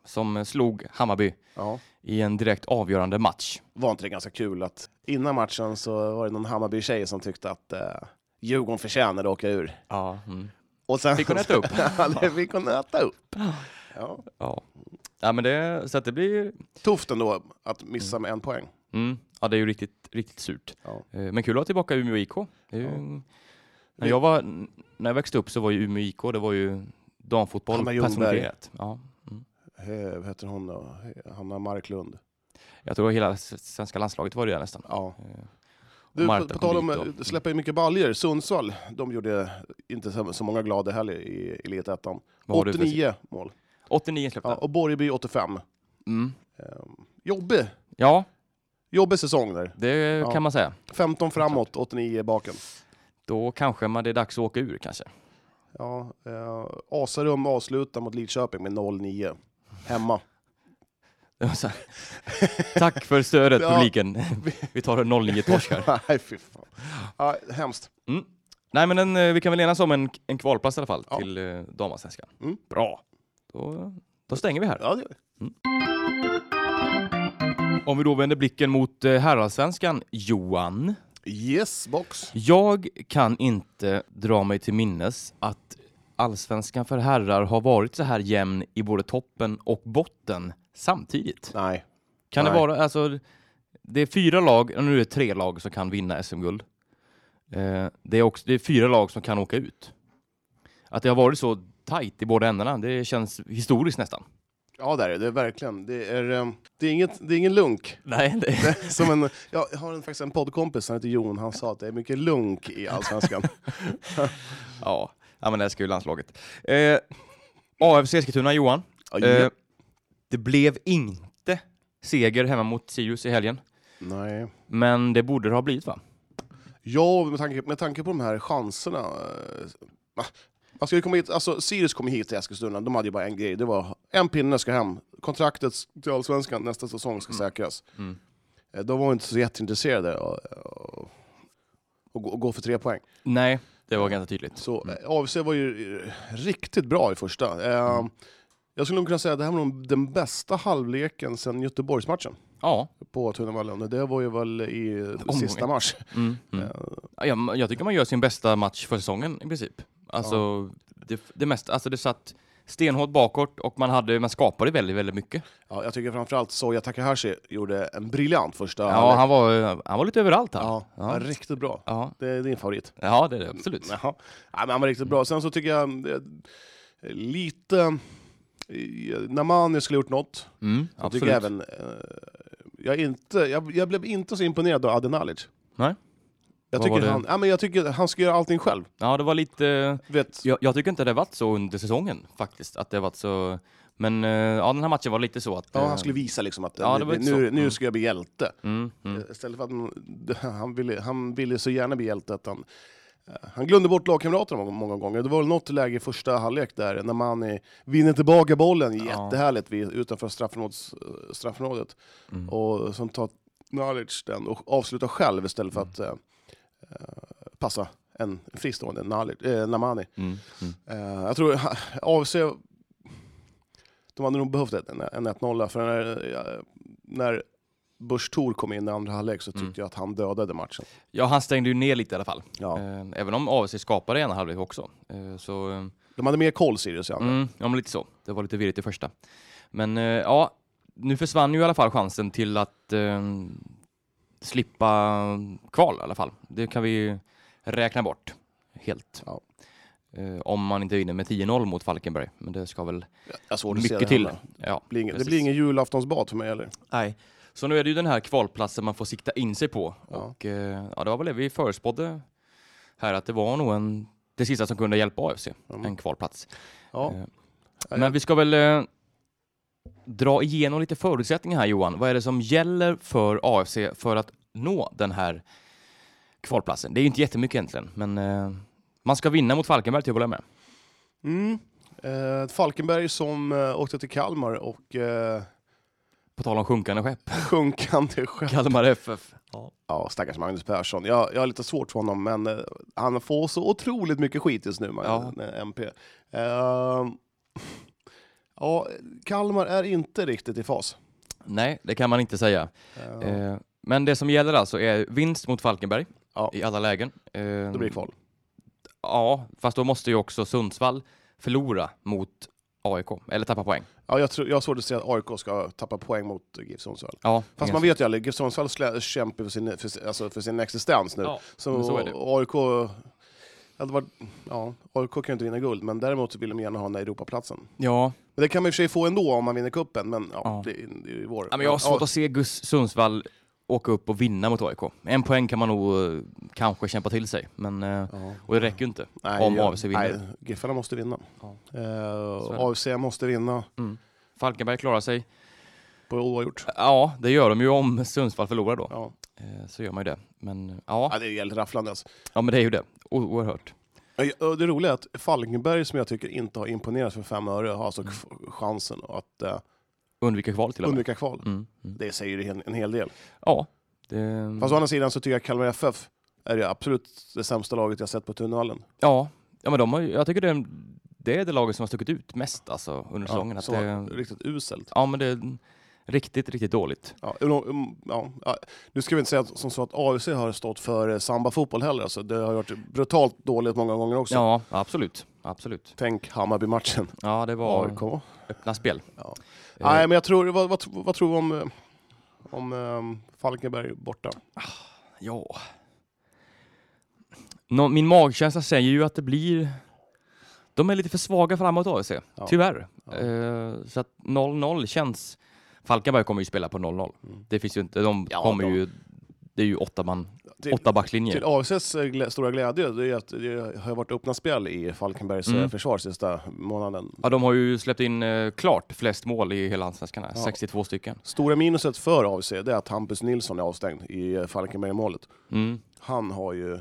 Speaker 2: som eh, slog Hammarby
Speaker 3: Ja.
Speaker 2: i en direkt avgörande match.
Speaker 3: Var inte det ganska kul att innan matchen så var det någon Hammarby-tjej som tyckte att uh, Djurgården förtjänade att åka ur.
Speaker 2: Ja, mm.
Speaker 3: Och sen,
Speaker 2: Fick hon äta upp?
Speaker 3: ja, det fick hon äta upp. Ja.
Speaker 2: ja. ja men det, så att det blir
Speaker 3: Tufft ändå att missa med en poäng.
Speaker 2: Mm. Ja, det är ju riktigt, riktigt surt.
Speaker 3: Ja.
Speaker 2: Eh, Men kul att ha tillbaka Umeå IK. Det är ju...
Speaker 3: Ja.
Speaker 2: när, jag var, när jag växte upp så var ju Umeå IK, det var ju damfotboll
Speaker 3: Hanna Ljungberg.
Speaker 2: personifierat. Ja.
Speaker 3: Eh, vad heter hon då? Eh, Hanna Marklund.
Speaker 2: Jag tror hela s- svenska landslaget var det där nästan.
Speaker 3: Ja.
Speaker 2: Eh,
Speaker 3: Du, på,
Speaker 2: Marta
Speaker 3: på
Speaker 2: kom
Speaker 3: tal om
Speaker 2: dit
Speaker 3: att släppa in mycket baljor. Sundsvall, de gjorde inte så, så många glada heller i Elitettan.
Speaker 2: vad har du för-
Speaker 3: 89 mål.
Speaker 2: 89 släppte
Speaker 3: Ja,
Speaker 2: ja.
Speaker 3: och Borgeby 85.
Speaker 2: Mm.
Speaker 3: Ehm, jobbig,
Speaker 2: ja,
Speaker 3: jobbig säsong där.
Speaker 2: det kan man säga.
Speaker 3: 15 framåt, 89 baken.
Speaker 2: Då kanske man, det är dags att åka ur kanske.
Speaker 3: Ja, eh, Asarum avslutar mot Lidköping med 0-9. Hemma.
Speaker 2: Det var så här. Tack för stödet
Speaker 3: Ja.
Speaker 2: publiken. Vi tar en 09 torsk här.
Speaker 3: Nej, fy fan. Ja, hemskt.
Speaker 2: Nej men en, eh, vi kan väl enas om en, en kvalplats i alla fall
Speaker 3: Ja.
Speaker 2: till eh, damallsvenskan.
Speaker 3: Mm.
Speaker 2: Bra. Då, då stänger vi här.
Speaker 3: Ja, det,
Speaker 2: Om vi då vänder blicken mot eh, herrallsvenskan, Johan.
Speaker 3: yes, box.
Speaker 2: Jag kan inte dra mig till minnes att allsvenskan för herrar har varit så här jämn i både toppen och botten samtidigt.
Speaker 3: Nej.
Speaker 2: Kan det
Speaker 3: Nej.
Speaker 2: vara, alltså, det är fyra lag, och nu är det tre lag som kan vinna SM-guld. Eh, det, är också, det är fyra lag som kan åka ut. Att det har varit så tajt i båda ändarna, det känns historiskt nästan.
Speaker 3: Ja, där är det. det är verkligen. Det är, eh, det är, inget, det är ingen lunk.
Speaker 2: Nej,
Speaker 3: Det är Som en, jag har en, faktiskt en poddkompis, han heter Jon, han sa att det är mycket lunk i Allsvenskan.
Speaker 2: Ja, ja men det ska ju landslaget. Eh, AFC Eskilstuna, Johan.
Speaker 3: Ja,
Speaker 2: Eh,
Speaker 3: ja.
Speaker 2: det blev inte seger hemma mot Sirius i helgen,
Speaker 3: Nej.
Speaker 2: men det borde det ha blivit va?
Speaker 3: Ja, med tanke, med tanke på de här chanserna. eh, ah, Man ska ju komma hit, alltså Sirius kom hit till Eskilstuna, de hade ju bara en grej. Det var en pinne ska hem. Kontraktet till Allsvenskan nästa säsong ska säkras.
Speaker 2: Mm.
Speaker 3: Eh, De var inte så jätteintresserade av av- att gå- att gå för tre poäng.
Speaker 2: Nej, det var ganska tydligt.
Speaker 3: Så eh, AFC var ju eh, riktigt bra i första. Eh,
Speaker 2: Mm.
Speaker 3: Jag skulle nog kunna säga att det här var nog den bästa halvleken sedan Göteborgsmatchen
Speaker 2: Ja,
Speaker 3: på Tunavallen. Det var ju väl i
Speaker 2: Omgången.
Speaker 3: sista mars.
Speaker 2: mm, mm. Ja, jag, jag tycker man gör sin bästa match för säsongen i princip. Alltså, det, det mesta, alltså det satt stenhårt bakåt och man, hade, man skapade väldigt, väldigt mycket.
Speaker 3: Ja, jag tycker framförallt Soja Takahashi gjorde en briljant första
Speaker 2: Ja,
Speaker 3: halvlek.
Speaker 2: han var, han var lite överallt han.
Speaker 3: ja,
Speaker 2: Ja.
Speaker 3: Riktigt bra.
Speaker 2: Ja,
Speaker 3: Det är din favorit.
Speaker 2: ja det är det absolut.
Speaker 3: Jaha. Ja, men han var riktigt bra. Sen så tycker jag eh, lite... eh, Namani skulle ha gjort något.
Speaker 2: Mm,
Speaker 3: Jag tycker
Speaker 2: absolut.
Speaker 3: även... eh, Jag, är inte, jag, jag blev inte så imponerad av Adenalic.
Speaker 2: Nej.
Speaker 3: Jag
Speaker 2: Vad var
Speaker 3: tycker,
Speaker 2: det?
Speaker 3: han, ja, men jag tycker han ska göra allting själv.
Speaker 2: Ja, det var lite...
Speaker 3: Du Vet,
Speaker 2: Jag, jag tycker inte det har varit så under säsongen faktiskt. Att det har varit så... Men eh, ja, den här matchen var lite så att...
Speaker 3: ja,
Speaker 2: eh,
Speaker 3: han skulle visa liksom att
Speaker 2: Ja,
Speaker 3: eh,
Speaker 2: det var
Speaker 3: nu,
Speaker 2: lite så.
Speaker 3: nu,
Speaker 2: Mm.
Speaker 3: ska jag bli hjälte.
Speaker 2: Mm, mm.
Speaker 3: Eh, Istället för att han, han, ville, han ville så gärna bli hjälte att han, eh, han glömde bort lagkamraterna många, många gånger. Det var väl något läge i första halvlek där när man vinner tillbaka bollen jättehärligt vid, utanför straffområdes, eh, straffområdet.
Speaker 2: Mm.
Speaker 3: Och sen tar Nalic den och avslutar själv istället för
Speaker 2: Mm.
Speaker 3: att eh, eh, passa en fristående Nalic, eh, Namani.
Speaker 2: Mm, mm.
Speaker 3: Eh, jag tror AFC, de hade nog behövt en, en 1-0 för när, eh, när Busch Thor kom in i andra halvlek så tyckte
Speaker 2: Mm.
Speaker 3: jag att han dödade matchen.
Speaker 2: Ja, han stängde ju ner lite i alla fall.
Speaker 3: Ja.
Speaker 2: Eh, även om AFC skapade en halvlek också. Eh, så... eh,
Speaker 3: De hade mer koll Sirius i andra.
Speaker 2: Mm, ja, men lite så. Det var lite virrigt i första. Men eh, ja, nu försvann ju i alla fall chansen till att eh, slippa kval i alla fall. Det kan vi ju räkna bort helt.
Speaker 3: Ja.
Speaker 2: Eh, om man inte vinner med 10-0 mot Falkenberg. Men det ska väl
Speaker 3: Jag har svårt att se det
Speaker 2: mycket till.
Speaker 3: hända.
Speaker 2: Ja,
Speaker 3: Det blir ingen, det
Speaker 2: precis.
Speaker 3: blir ingen julaftonsbad för mig heller.
Speaker 2: Nej. Så nu är det ju den här kvalplatsen man får sikta in sig på.
Speaker 3: Ja.
Speaker 2: Och eh, ja, det var väl det vi förespådde här, att det var nog en, det sista som kunde hjälpa AFC,
Speaker 3: Mm.
Speaker 2: en kvalplats.
Speaker 3: Ja.
Speaker 2: Eh,
Speaker 3: Ja,
Speaker 2: Men vi ska väl eh, dra igenom lite förutsättningar här Johan. Vad är det som gäller för AFC för att nå den här kvalplatsen? Det är ju inte jättemycket egentligen, men eh, man ska vinna mot Falkenberg till att börja med.
Speaker 3: Mm. Eh, Falkenberg som eh, åkte till Kalmar och eh,
Speaker 2: På tal om sjunkande skepp,
Speaker 3: sjunkande själv.
Speaker 2: Kalmar FF.
Speaker 3: Ja, stackars Magnus Persson. Jag, jag har lite svårt för honom, men eh, han får så otroligt mycket skit just nu,
Speaker 2: Ja.
Speaker 3: med MP. Ehm, ja, Kalmar är inte riktigt i fas.
Speaker 2: Nej, det kan man inte säga.
Speaker 3: Ehm,
Speaker 2: Eh, men det som gäller alltså är vinst mot Falkenberg
Speaker 3: Ja.
Speaker 2: i alla lägen. Eh,
Speaker 3: Då blir det kval.
Speaker 2: Ja, fast då måste ju också Sundsvall förlora mot AIK, eller tappa poäng.
Speaker 3: Ja, jag, tror, jag har svårt att se att AIK ska tappa poäng mot GIF Sundsvall.
Speaker 2: Ja,
Speaker 3: Fast man vet ju aldrig, GIF Sundsvall slä- kämpar för sin, för, sin- alltså för sin existens nu.
Speaker 2: Ja,
Speaker 3: så,
Speaker 2: men så är det.
Speaker 3: och AIK... Hade varit, ja, AIK kan ju inte vinna guld, men däremot vill de gärna ha den där Europaplatsen.
Speaker 2: ja.
Speaker 3: Men det kan man i och för sig få ändå om man vinner kuppen, men ja,
Speaker 2: Ja.
Speaker 3: Det, det är ju vår.
Speaker 2: Ja, men jag har svårt
Speaker 3: Ja,
Speaker 2: att se Gus Sundsvall åka upp och vinna mot AIK. En poäng kan man nog eh, kanske kämpa till sig, men, eh,
Speaker 3: ja.
Speaker 2: och det räcker ju inte.
Speaker 3: Nej,
Speaker 2: om
Speaker 3: jag-
Speaker 2: AFC vinner.
Speaker 3: Nej, Giffarna måste vinna.
Speaker 2: Ja.
Speaker 3: Eh,
Speaker 2: Så är det.
Speaker 3: AFC måste vinna
Speaker 2: Falkenberg klarar sig.
Speaker 3: på oavgjort.
Speaker 2: Ja, det gör de ju om Sundsvall förlorar då.
Speaker 3: Ja.
Speaker 2: Eh, Så gör man ju det. Men eh, ja,
Speaker 3: Ja, det är helt rafflande. Alltså.
Speaker 2: ja men det är ju det. O- Oerhört.
Speaker 3: Eh, och Det roliga är att Falkenberg, som jag tycker inte har imponerat för fem öre, har alltså
Speaker 2: Mm.
Speaker 3: kf- chansen att eh,
Speaker 2: Undvika kval till och med.
Speaker 3: undvika kval.
Speaker 2: Mm, mm.
Speaker 3: Det säger ju en, en hel del.
Speaker 2: Ja. Det...
Speaker 3: Fast å andra sidan så tycker jag Kalmar FF är det absolut det sämsta laget jag sett på tunneln.
Speaker 2: Ja, ja men de har, ju- jag tycker det är, det är det laget som har stuckit ut mest alltså, under säsongen.
Speaker 3: Ja,
Speaker 2: att
Speaker 3: så
Speaker 2: det,
Speaker 3: Riktigt uselt.
Speaker 2: ja, men det är riktigt, riktigt dåligt.
Speaker 3: Ja, um, um, ja, ja. Nu ska vi inte säga att- som så att AFC har stått för eh, samba-fotboll heller. Alltså, det har varit brutalt dåligt många gånger också.
Speaker 2: Ja, absolut. Absolut.
Speaker 3: Tänk Hammarby-matchen.
Speaker 2: Ja, Eh. det var
Speaker 3: AIK.
Speaker 2: öppna spel.
Speaker 3: Ja.
Speaker 2: Eh,
Speaker 3: Nej, men jag tror, vad, vad, vad tror du om, eh, om eh, Falkenberg borta?
Speaker 2: Ja. Nå, min magkänsla säger ju att det blir... De är lite för svaga framåt AFC,
Speaker 3: Ja.
Speaker 2: tyvärr.
Speaker 3: Ja.
Speaker 2: Eh, så att 0-0 känns... Falkenberg kommer ju spela på 0-0.
Speaker 3: Mm.
Speaker 2: Det finns ju inte... De
Speaker 3: Ja,
Speaker 2: kommer
Speaker 3: de-
Speaker 2: ju... Det är ju åtta man,
Speaker 3: Till,
Speaker 2: åtta backlinjer.
Speaker 3: till AFCs eh, glä, stora glädje det är att det har varit öppna spel i Falkenbergs
Speaker 2: Mm.
Speaker 3: mm. försvar sista månaden.
Speaker 2: Ja, de har ju släppt in eh, klart flest mål i hela Allsvenskan, här,
Speaker 3: Ja.
Speaker 2: 62 stycken.
Speaker 3: Stora minuset för AFC det är att Hampus Nilsson är avstängd i eh, Falkenberg-målet.
Speaker 2: Mm.
Speaker 3: Han har ju...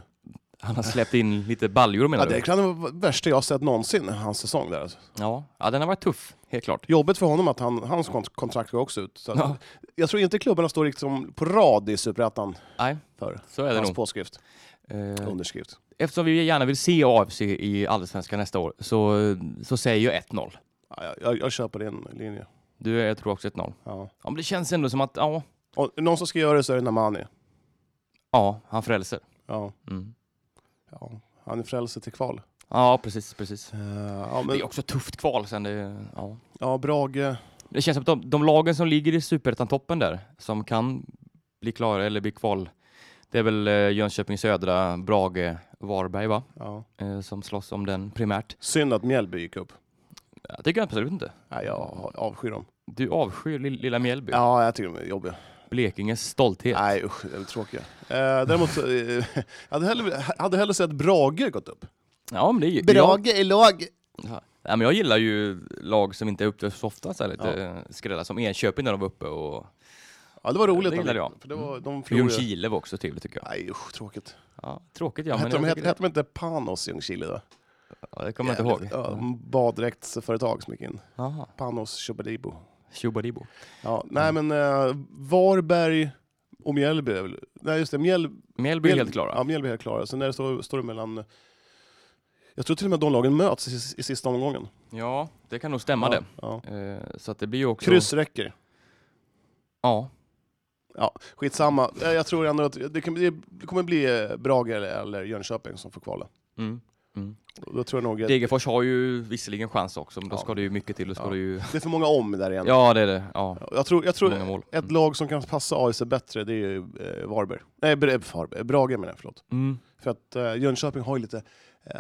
Speaker 2: Han har släppt in lite baljor menar
Speaker 3: Ja, det
Speaker 2: du?
Speaker 3: kan vara det värsta jag har sett någonsin, hans säsong där. Alltså.
Speaker 2: Ja. ja, den har varit tuff, helt klart.
Speaker 3: Jobbigt för honom att han, hans kont- kontrakt går också ut. Så att,
Speaker 2: Ja.
Speaker 3: Jag tror inte klubbarna står liksom på rad i Superettan
Speaker 2: Nej,
Speaker 3: för
Speaker 2: så är det
Speaker 3: hans
Speaker 2: nog.
Speaker 3: påskrift,
Speaker 2: Eh,
Speaker 3: underskrift.
Speaker 2: Eftersom vi gärna vill se AFC i Allsvenskan nästa år så, så säger jag 1-0.
Speaker 3: Ja, jag, jag, jag köper din linje.
Speaker 2: Du, eh, jag tror också 1-0.
Speaker 3: Ja.
Speaker 2: Ja, men det känns ändå som att, ja,
Speaker 3: Och någon som ska göra det så är det Namani.
Speaker 2: ja han frälser.
Speaker 3: Ja.
Speaker 2: Mm.
Speaker 3: Ja. Han är frälse till kval.
Speaker 2: Ja, precis, precis.
Speaker 3: Eh, ja,
Speaker 2: Det är
Speaker 3: men,
Speaker 2: också tufft kval sen. Det, ja.
Speaker 3: ja, Brage.
Speaker 2: det känns som att de, de lagen som ligger i superettan-toppen där, som kan bli klara eller bli kval, det är väl eh, Jönköping Södra, Brage, Varberg va?
Speaker 3: Ja.
Speaker 2: Eh, som slåss om den primärt.
Speaker 3: Synd att Mjällby gick upp.
Speaker 2: Jag tycker absolut inte.
Speaker 3: Nej, jag avskyr dem.
Speaker 2: Du avskyr li- lilla Mjällby,
Speaker 3: Ja, jag tycker de är jobbiga.
Speaker 2: Blekinges stolthet.
Speaker 3: Nej usch, de är tråkiga. Eh, däremot, eh, jag hade hellre, hade hellre sett Brage gått upp.
Speaker 2: Ja, men det är
Speaker 3: är lag.
Speaker 2: Ja. Ja, men jag gillar ju lag som inte är uppe så ofta, så här lite ja. skrällar, som Enköping när de var uppe och
Speaker 3: Ja, det var roligt.
Speaker 2: Det gillade jag. Mm.
Speaker 3: För det var, de förlorade.
Speaker 2: Ljungskile var också trevligt tycker jag.
Speaker 3: Nej usch, tråkigt.
Speaker 2: Ja, tråkigt ja, men
Speaker 3: hette,
Speaker 2: jag
Speaker 3: de,
Speaker 2: tycker
Speaker 3: hette,
Speaker 2: det,
Speaker 3: hette de inte Panos i Ljungskile då?
Speaker 2: ja, det kommer jag inte ihåg.
Speaker 3: Ja, de baddräktsföretag som gick in.
Speaker 2: Jaha,
Speaker 3: Panos Chobadibo.
Speaker 2: Tjobadibo.
Speaker 3: Ja, nej men eh, Varberg och Mjällby är väl... Nej just det, Mjäll,
Speaker 2: Mjällby är helt
Speaker 3: Ja,
Speaker 2: klara.
Speaker 3: Mjällby är helt klara. Sen där står, står det mellan... Jag tror till och med att de lagen möts i, i sista omgången.
Speaker 2: Ja, det kan nog stämma det.
Speaker 3: Ja.
Speaker 2: Eh, Så att det blir ju också...
Speaker 3: Kryss räcker.
Speaker 2: Ja,
Speaker 3: Ja, skitsamma. Eh, Jag tror ändå att det, kan, bli- det kommer bli eh, Brage eller, eller Jönköping som får kvala.
Speaker 2: mm. Mm.
Speaker 3: Då tror jag nog att
Speaker 2: Degerfors har ju visserligen chans också, men då
Speaker 3: Ja.
Speaker 2: ska det ju mycket till. Då ska
Speaker 3: Ja.
Speaker 2: det ju...
Speaker 3: det är för många om där igen.
Speaker 2: Ja, det är det. Ja.
Speaker 3: Jag tror, jag
Speaker 2: Många
Speaker 3: tror
Speaker 2: mål. Mm.
Speaker 3: ett lag som kan passa AIC bättre, det är ju eh, Varberg. Nej, Bre- Varberg. Brage menar jag, förlåt.
Speaker 2: Mm.
Speaker 3: För att eh, Jönköping har ju lite eh,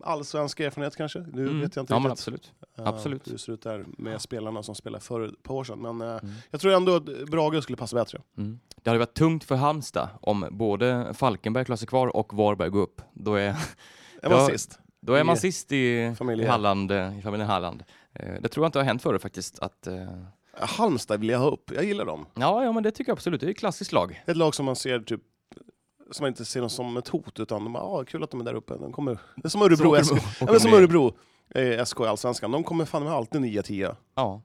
Speaker 3: allsvensk erfarenhet kanske. Nu
Speaker 2: Mm.
Speaker 3: vet jag inte
Speaker 2: Ja, men
Speaker 3: riktigt
Speaker 2: absolut.
Speaker 3: eh,
Speaker 2: absolut.
Speaker 3: hur det ser ut där med spelarna som spelade för ett par år sedan. Men eh,
Speaker 2: Mm.
Speaker 3: jag tror ändå att Brage skulle passa bättre.
Speaker 2: Mm. Det hade varit tungt för Halmstad om både Falkenberg klarar sig kvar och Varberg går upp. Då är
Speaker 3: Än var
Speaker 2: Ja.
Speaker 3: sist.
Speaker 2: Då är man
Speaker 3: I
Speaker 2: sist i, i
Speaker 3: familjen.
Speaker 2: Halland, eh, i familjen Halland. Eh, Det tror jag inte har hänt förut faktiskt. Att, eh,
Speaker 3: Halmstad vill jag ha upp. Jag gillar dem.
Speaker 2: ja, ja, men det tycker jag absolut. Det är ett klassiskt lag.
Speaker 3: Ett lag som man ser typ som man inte ser dem som ett hot, utan de bara, ah, kul att de är där uppe. De kommer, det är som
Speaker 2: Så
Speaker 3: Örebro,
Speaker 2: åker
Speaker 3: SK,
Speaker 2: de-
Speaker 3: ja,
Speaker 2: åker
Speaker 3: men
Speaker 2: de
Speaker 3: som
Speaker 2: ner.
Speaker 3: Örebro eh, SK i Allsvenskan. De kommer fan med alltid 9-10.
Speaker 2: Ja,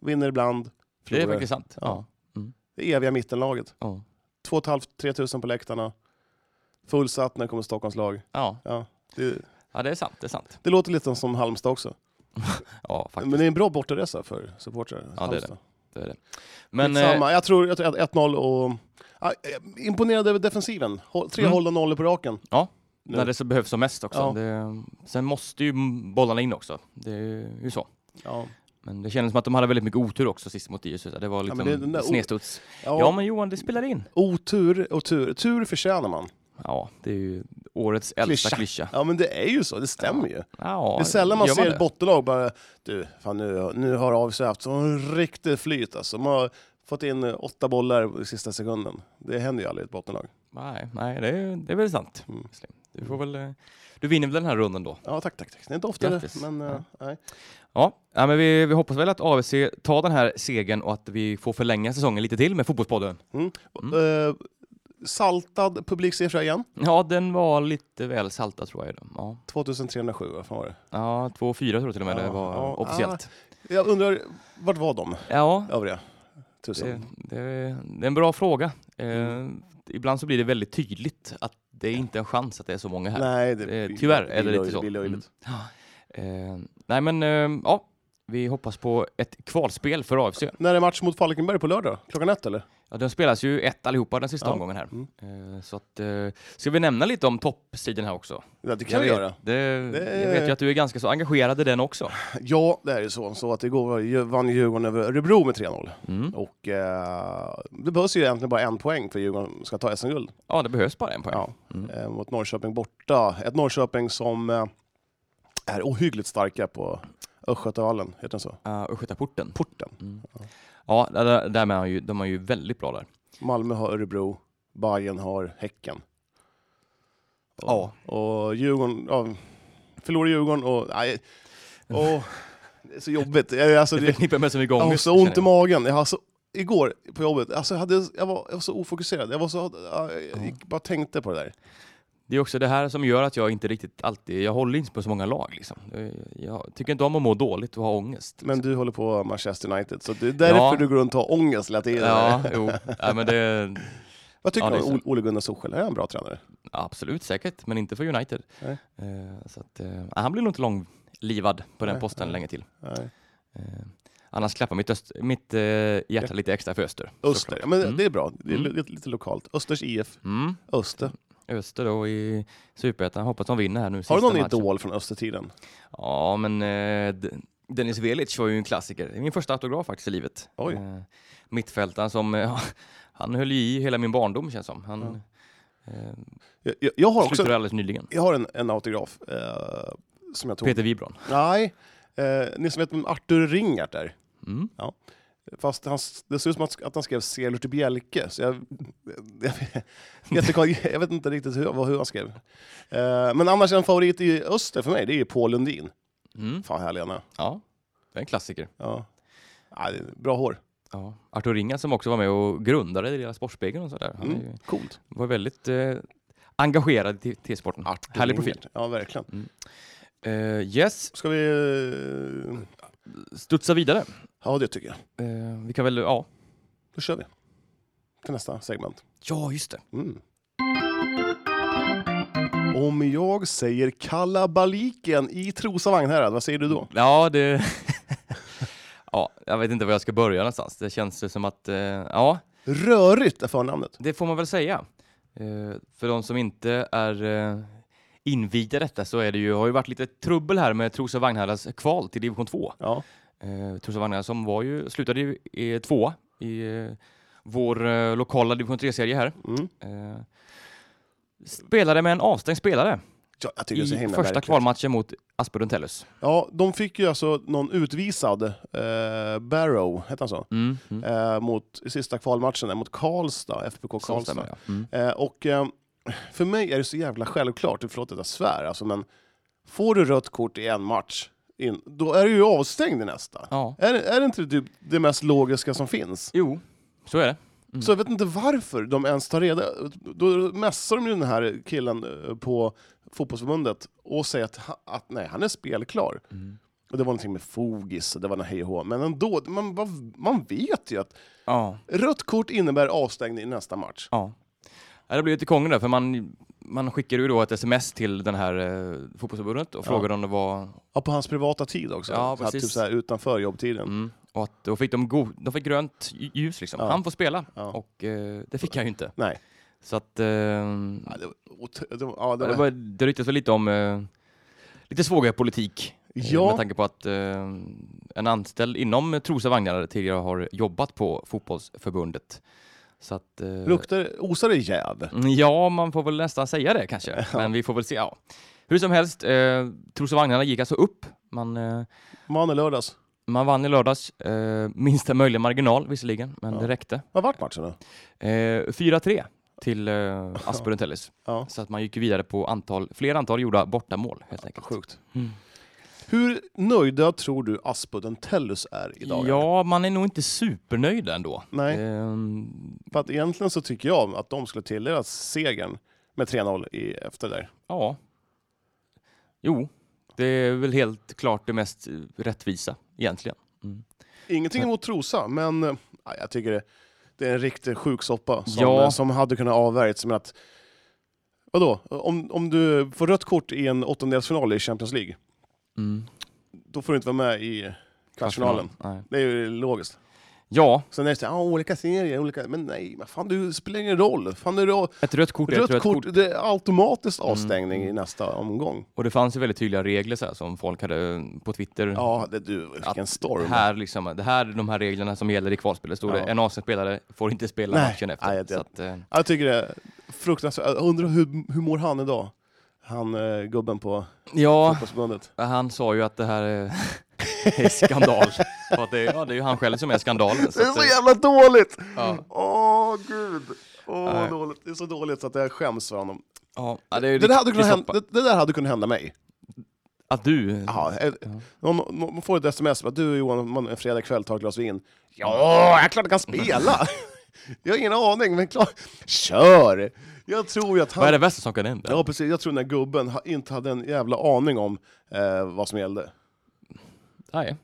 Speaker 3: Vinner ibland,
Speaker 2: det är
Speaker 3: förlorar. Det,
Speaker 2: faktiskt sant. Ja.
Speaker 3: Ja.
Speaker 2: Mm.
Speaker 3: eviga mittenlaget.
Speaker 2: Ja.
Speaker 3: 2 tusen på läktarna. Fullsatt när det kommer Stockholmslag.
Speaker 2: Ja.
Speaker 3: Ja, det,
Speaker 2: ja, det är sant. Det är sant.
Speaker 3: det låter lite som Halmstad också.
Speaker 2: Ja, faktiskt.
Speaker 3: Men det är en bra bortaresa för supportrar.
Speaker 2: Ja, det är det. Det är det. Men
Speaker 3: Men,
Speaker 2: eh,
Speaker 3: jag tror, jag tror att 1-0 och... Ja, eh, imponerad över defensiven. Håll- Tre
Speaker 2: Mm.
Speaker 3: hållna nollor på raken.
Speaker 2: när det så behövs som mest också.
Speaker 3: Ja.
Speaker 2: Det, sen måste ju bollarna in också. Det är ju så.
Speaker 3: Ja.
Speaker 2: Men det kändes som att de hade väldigt mycket otur också sist mot IS. Det var
Speaker 3: men
Speaker 2: liksom
Speaker 3: det är den där o-
Speaker 2: snedstuds.
Speaker 3: Ja,
Speaker 2: Ja, men Johan, det spelar in.
Speaker 3: Otur och tur. Tur förtjänar man.
Speaker 2: Ja, det är ju årets äldsta
Speaker 3: Klyscha.
Speaker 2: klyscha.
Speaker 3: Ja men det är ju så, det stämmer ju.
Speaker 2: Ja,
Speaker 3: Det är sällan man
Speaker 2: gör
Speaker 3: ser
Speaker 2: det?
Speaker 3: ett bottenlag bara, du, fan nu, nu har AFC haft sån riktigt flyt alltså. De har fått in eh, åtta bollar i sista sekunden. Det händer ju aldrig i ett bottenlag.
Speaker 2: Nej, nej det, är, det är väl sant.
Speaker 3: Mm.
Speaker 2: Du, får väl, eh, du vinner väl den här runden då?
Speaker 3: Ja tack, tack, tack. Det är inte ofta det,
Speaker 2: Grattis.
Speaker 3: men eh,
Speaker 2: Ja.
Speaker 3: nej.
Speaker 2: Ja, ja men vi, vi hoppas väl att AVC tar den här segern och att vi får förlänga säsongen lite till med Fotbollspodden.
Speaker 3: Mm. Eh, saltad publiksiffra igen,
Speaker 2: Ja, den var lite väl saltad tror jag. Ja,
Speaker 3: 2307, vad fan var det?
Speaker 2: ja 2-4 tror jag till och med det
Speaker 3: Ja,
Speaker 2: var
Speaker 3: ja,
Speaker 2: officiellt.
Speaker 3: Jag undrar, vart var de
Speaker 2: Ja,
Speaker 3: övriga tusen?
Speaker 2: det, det, det är en bra fråga.
Speaker 3: Mm.
Speaker 2: Eh, ibland så blir det väldigt tydligt att det är inte en chans att det är så många här.
Speaker 3: nej,
Speaker 2: eh, tyvärr är det
Speaker 3: blir
Speaker 2: lite så. Mm.
Speaker 3: blir löjligt.
Speaker 2: Eh, nej, men eh, ja, vi hoppas på ett kvalspel för AFC.
Speaker 3: När är match mot Falkenberg på lördag? Klockan ett eller?
Speaker 2: Ja, den spelas ju ett allihopa den sista
Speaker 3: Ja.
Speaker 2: omgången här.
Speaker 3: Mm.
Speaker 2: Eh, Så att, eh, ska vi nämna lite om toppstriden här också?
Speaker 3: Ja, det kan
Speaker 2: jag
Speaker 3: vi
Speaker 2: vet,
Speaker 3: göra.
Speaker 2: Det,
Speaker 3: Det-
Speaker 2: Jag vet ju att du är ganska så engagerad i den också.
Speaker 3: Ja, det är ju så, så att igår var- ju- vann Djurgården över Örebro med 3-0.
Speaker 2: Mm.
Speaker 3: Och eh, det behövs ju egentligen bara en poäng för Djurgården ska ta SM-guld.
Speaker 2: Ja, det behövs bara en poäng.
Speaker 3: Ja.
Speaker 2: Mm.
Speaker 3: Eh, mot Norrköping borta. Ett Norrköping som eh, är ohyggligt starka på Östgötavallen, heter den så?
Speaker 2: Uh, Östgötaporten.
Speaker 3: Porten.
Speaker 2: Mm.
Speaker 3: Ja.
Speaker 2: Ja, där- där, där med är ju, de är ju väldigt bra där.
Speaker 3: Malmö har Örebro, Bayern har Häcken.
Speaker 2: Ja.
Speaker 3: Och Djurgården, ja, förlorar Djurgården och... Nej, och det är så jobbigt. Eh, Alltså,
Speaker 2: det
Speaker 3: det,
Speaker 2: förknippar mig så mycket
Speaker 3: Jag har
Speaker 2: ångest.
Speaker 3: så ont i
Speaker 2: känner
Speaker 3: magen. Jag har så, igår på jobbet, alltså jag, hade, jag, var, jag var så ofokuserad. Jag, var så, jag, jag gick, bara tänkte på det där.
Speaker 2: Det är också det här som gör att jag inte riktigt alltid, jag håller inte på så många lag liksom. Eh, Jag tycker inte om att må dåligt och ha ångest.
Speaker 3: Men du håller på Manchester United, så det är därför
Speaker 2: Ja.
Speaker 3: du går runt och har ångest hela tiden.
Speaker 2: Ja, jo. Nej, men det,
Speaker 3: Vad tycker
Speaker 2: Ja,
Speaker 3: du
Speaker 2: det är
Speaker 3: om O- Ole Gunnar Solskjaer? Är han en bra tränare?
Speaker 2: Absolut, säkert, men inte för United.
Speaker 3: Nej.
Speaker 2: Eh, så att, eh, nej, han blir nog inte långlivad på den
Speaker 3: Nej,
Speaker 2: posten
Speaker 3: nej.
Speaker 2: länge till.
Speaker 3: Nej.
Speaker 2: Eh, annars klappar mitt, öst, mitt eh, hjärta lite extra för Öster.
Speaker 3: Öster,
Speaker 2: såklart.
Speaker 3: men
Speaker 2: Mm.
Speaker 3: det är bra. Det är
Speaker 2: Mm.
Speaker 3: li- lite, lite lokalt. Östers IF,
Speaker 2: Mm.
Speaker 3: Öster.
Speaker 2: Öster då i Superettan. Hoppas de vinner här nu
Speaker 3: Har du
Speaker 2: sista
Speaker 3: någon
Speaker 2: matchen.
Speaker 3: idol från Östertiden?
Speaker 2: Ja, men eh, D- Dennis Velic var ju en klassiker. Det är min första autograf faktiskt i livet.
Speaker 3: Oj.
Speaker 2: Eh, mittfältaren som, eh, han höll ju i hela min barndom känns som. Han eh,
Speaker 3: Jag, jag, jag har också
Speaker 2: slutade alldeles nyligen.
Speaker 3: jag har en, en autograf eh, som jag tog.
Speaker 2: Peter Wibron.
Speaker 3: Nej, eh, ni som vet vem Arthur Ringart är.
Speaker 2: Mm.
Speaker 3: Fast han, det ser ut som att, att han skrev Seler till Bjälke, så jag, jag, jag, jag vet inte riktigt hur, vad- hur han skrev. Eh, men annars en favorit i öster för mig, det är ju Paul Lundin.
Speaker 2: Mm.
Speaker 3: Fan härlig han är.
Speaker 2: Ja, det är en klassiker.
Speaker 3: Ja. Ja, det är bra hår.
Speaker 2: Ja. Artur Ringa som också var med och grundade deras Sportspegeln och sådär. Han är
Speaker 3: Mm.
Speaker 2: ju,
Speaker 3: Coolt.
Speaker 2: var väldigt eh, engagerad i T-sporten. Härlig profil.
Speaker 3: Ja, verkligen.
Speaker 2: Mm. Eh, yes,
Speaker 3: Ska vi... eh,
Speaker 2: studsa vidare.
Speaker 3: Ja, det tycker jag.
Speaker 2: Eh, vi kan väl, ja.
Speaker 3: Då kör vi. Till nästa segment.
Speaker 2: Ja, just det.
Speaker 3: Mm. Om jag säger kalabaliken i Trosa vagnhärad, vad säger du då?
Speaker 2: Ja, det... ja, jag vet inte var jag ska börja någonstans. Det känns ju som att, eh, ja,
Speaker 3: Rörigt är förnamnet.
Speaker 2: det får man väl säga. Eh, för de som inte är eh, invigda i detta så är det ju, har ju varit lite trubbel här med Trosa Vagnhärads kval till division 2.
Speaker 3: Ja.
Speaker 2: Eh, Trosa Vagnhärad som var ju, slutade ju i tvåa i eh, vår eh, lokala division 3-serie här.
Speaker 3: Mm.
Speaker 2: Eh, spelade med en avstängd spelare
Speaker 3: Ja, jag tycker det är så
Speaker 2: i
Speaker 3: himla
Speaker 2: första
Speaker 3: märkligt.
Speaker 2: kvalmatchen mot Asperun Tellus.
Speaker 3: Ja, de fick ju alltså någon utvisad, eh, Barrow, hette han så?
Speaker 2: Mm, mm.
Speaker 3: Eh, mot i sista kvalmatchen där, mot Karlstad, FBK
Speaker 2: Så
Speaker 3: Karlstad.
Speaker 2: stämmer det, ja. Mm.
Speaker 3: Eh, och eh, för mig är det så jävla självklart, förlåt att jag svär, alltså, men får du rött kort i en match, in, då är du ju avstängd i nästa.
Speaker 2: ja.
Speaker 3: Är, det- är det inte typ det mest logiska som finns?
Speaker 2: Jo, så är det. Mm.
Speaker 3: Så jag vet inte varför de ens tar reda Då mässar de ju den här killen eh, på fotbollsförbundet och säger att, ha- att nej, han är spelklar.
Speaker 2: Mm.
Speaker 3: Och det var någonting med fogis, och det var något hej och hå. Men ändå, man, bara- man vet ju att
Speaker 2: Ja.
Speaker 3: rött kort innebär avstängning i nästa match.
Speaker 2: ja. Ja, Det blir lite krångel där, för man, man skickar ju då ett sms till den här eh, fotbollsförbundet och
Speaker 3: Ja.
Speaker 2: frågar om det var...
Speaker 3: Ja, på hans privata tid också.
Speaker 2: Ja,
Speaker 3: så här,
Speaker 2: precis.
Speaker 3: typ så här, utanför jobbtiden.
Speaker 2: Mm, och att, då fick de, go, de fick grönt lj- ljus liksom.
Speaker 3: Ja.
Speaker 2: Han får spela.
Speaker 3: Ja.
Speaker 2: Och eh, det fick han ju inte.
Speaker 3: Nej.
Speaker 2: Så att... Eh,
Speaker 3: Ja, det var, ot- det var, ja, det
Speaker 2: det,
Speaker 3: var,
Speaker 2: var, det ryktas väl lite om eh, lite svagare politik. eh, Med
Speaker 3: ja,
Speaker 2: tanke på att eh, en anställd inom Trosa Vagnare tidigare har jobbat på fotbollsförbundet. Så att... eh,
Speaker 3: luktar, osar det jäv?
Speaker 2: Mm, Ja, man får väl nästan säga det kanske. Men vi får väl se. Ja. Hur som helst, eh, Trosa Vagnarna gick alltså upp. Man, eh,
Speaker 3: Man är lördags.
Speaker 2: man vann i lördags, eh, minsta möjliga marginal visserligen, men
Speaker 3: Ja.
Speaker 2: det räckte.
Speaker 3: Vad vart matchen då?
Speaker 2: Eh, 4-3 till eh, Asperun Tellus.
Speaker 3: Ja.
Speaker 2: Så att man gick ju vidare på antal, fler antal gjorda bortamål helt enkelt.
Speaker 3: Sjukt.
Speaker 2: Mm.
Speaker 3: Hur nöjda tror du Aspudden Tellus är idag?
Speaker 2: Ja, eh. man är nog inte supernöjd ändå.
Speaker 3: Nej,
Speaker 2: Ehm,
Speaker 3: för att egentligen så tycker jag att de skulle tilldelas segern med 3-0 i efter där.
Speaker 2: ja. Jo, det är väl helt klart det mest eh, rättvisa egentligen.
Speaker 3: Ingenting
Speaker 2: Men-
Speaker 3: emot Trosa, men eh, jag tycker det, det är en riktig sjuksoppa som,
Speaker 2: Ja.
Speaker 3: eh, som hade kunnat avvärjts. Men att, vadå, om, om du får rött kort i en åttondelsfinal i Champions League,
Speaker 2: Mm.
Speaker 3: då får du inte vara med i kvartsfinalen.
Speaker 2: Nej.
Speaker 3: Det är ju logiskt.
Speaker 2: Ja,
Speaker 3: Sen är det så här, ah, olika serier, olika... men nej, vad fan, du spelar ingen roll. Fan, är det
Speaker 2: Ett rött kort är ett
Speaker 3: Rött,
Speaker 2: rött
Speaker 3: kort,
Speaker 2: kort. Mm.
Speaker 3: det är automatiskt avstängning i nästa omgång.
Speaker 2: Och det fanns ju väldigt tydliga regler så här, som folk hade eh, på Twitter.
Speaker 3: Ja, det du, vilken
Speaker 2: Att
Speaker 3: storm.
Speaker 2: Det här, liksom, det här är de här reglerna som gäller i kvalspelet. Stod det,
Speaker 3: Ja.
Speaker 2: en avstängd-spelare får inte spela
Speaker 3: Nej.
Speaker 2: matchen efter.
Speaker 3: Nej, jag-
Speaker 2: så att, eh,
Speaker 3: Jag tycker det är fruktansvärt. Jag undrar hur, hur mår han idag? Han eh, gubben på
Speaker 2: ja,
Speaker 3: fotbollsförbundet.
Speaker 2: han sa ju att det här är, är skandal. Och att det, ja, det är ju han själv som är skandalen.
Speaker 3: Det är
Speaker 2: att,
Speaker 3: så
Speaker 2: eh,
Speaker 3: jävla dåligt!
Speaker 2: ja,
Speaker 3: Åh gud! Åh,
Speaker 2: Nej.
Speaker 3: dåligt. Det är så dåligt så att jag skäms för honom.
Speaker 2: ja, ja, det är ju
Speaker 3: Det, där, hade
Speaker 2: riktig
Speaker 3: kunnat hända,
Speaker 2: soppa.
Speaker 3: det, det där hade kunnat hända mig.
Speaker 2: Att du...
Speaker 3: Jaha, eh, någon, någon man får ett sms att du Johan, man, en fredag kväll tar ett glas vin. Ja, jag är klart jag kan spela! jag har ingen aning, men klart. Kör! Jag tror ju att han...
Speaker 2: Vad är det värsta som kan hända?
Speaker 3: Ja precis, jag tror den där gubben ha- inte hade en jävla aning om eh, vad som gällde.
Speaker 2: Nej.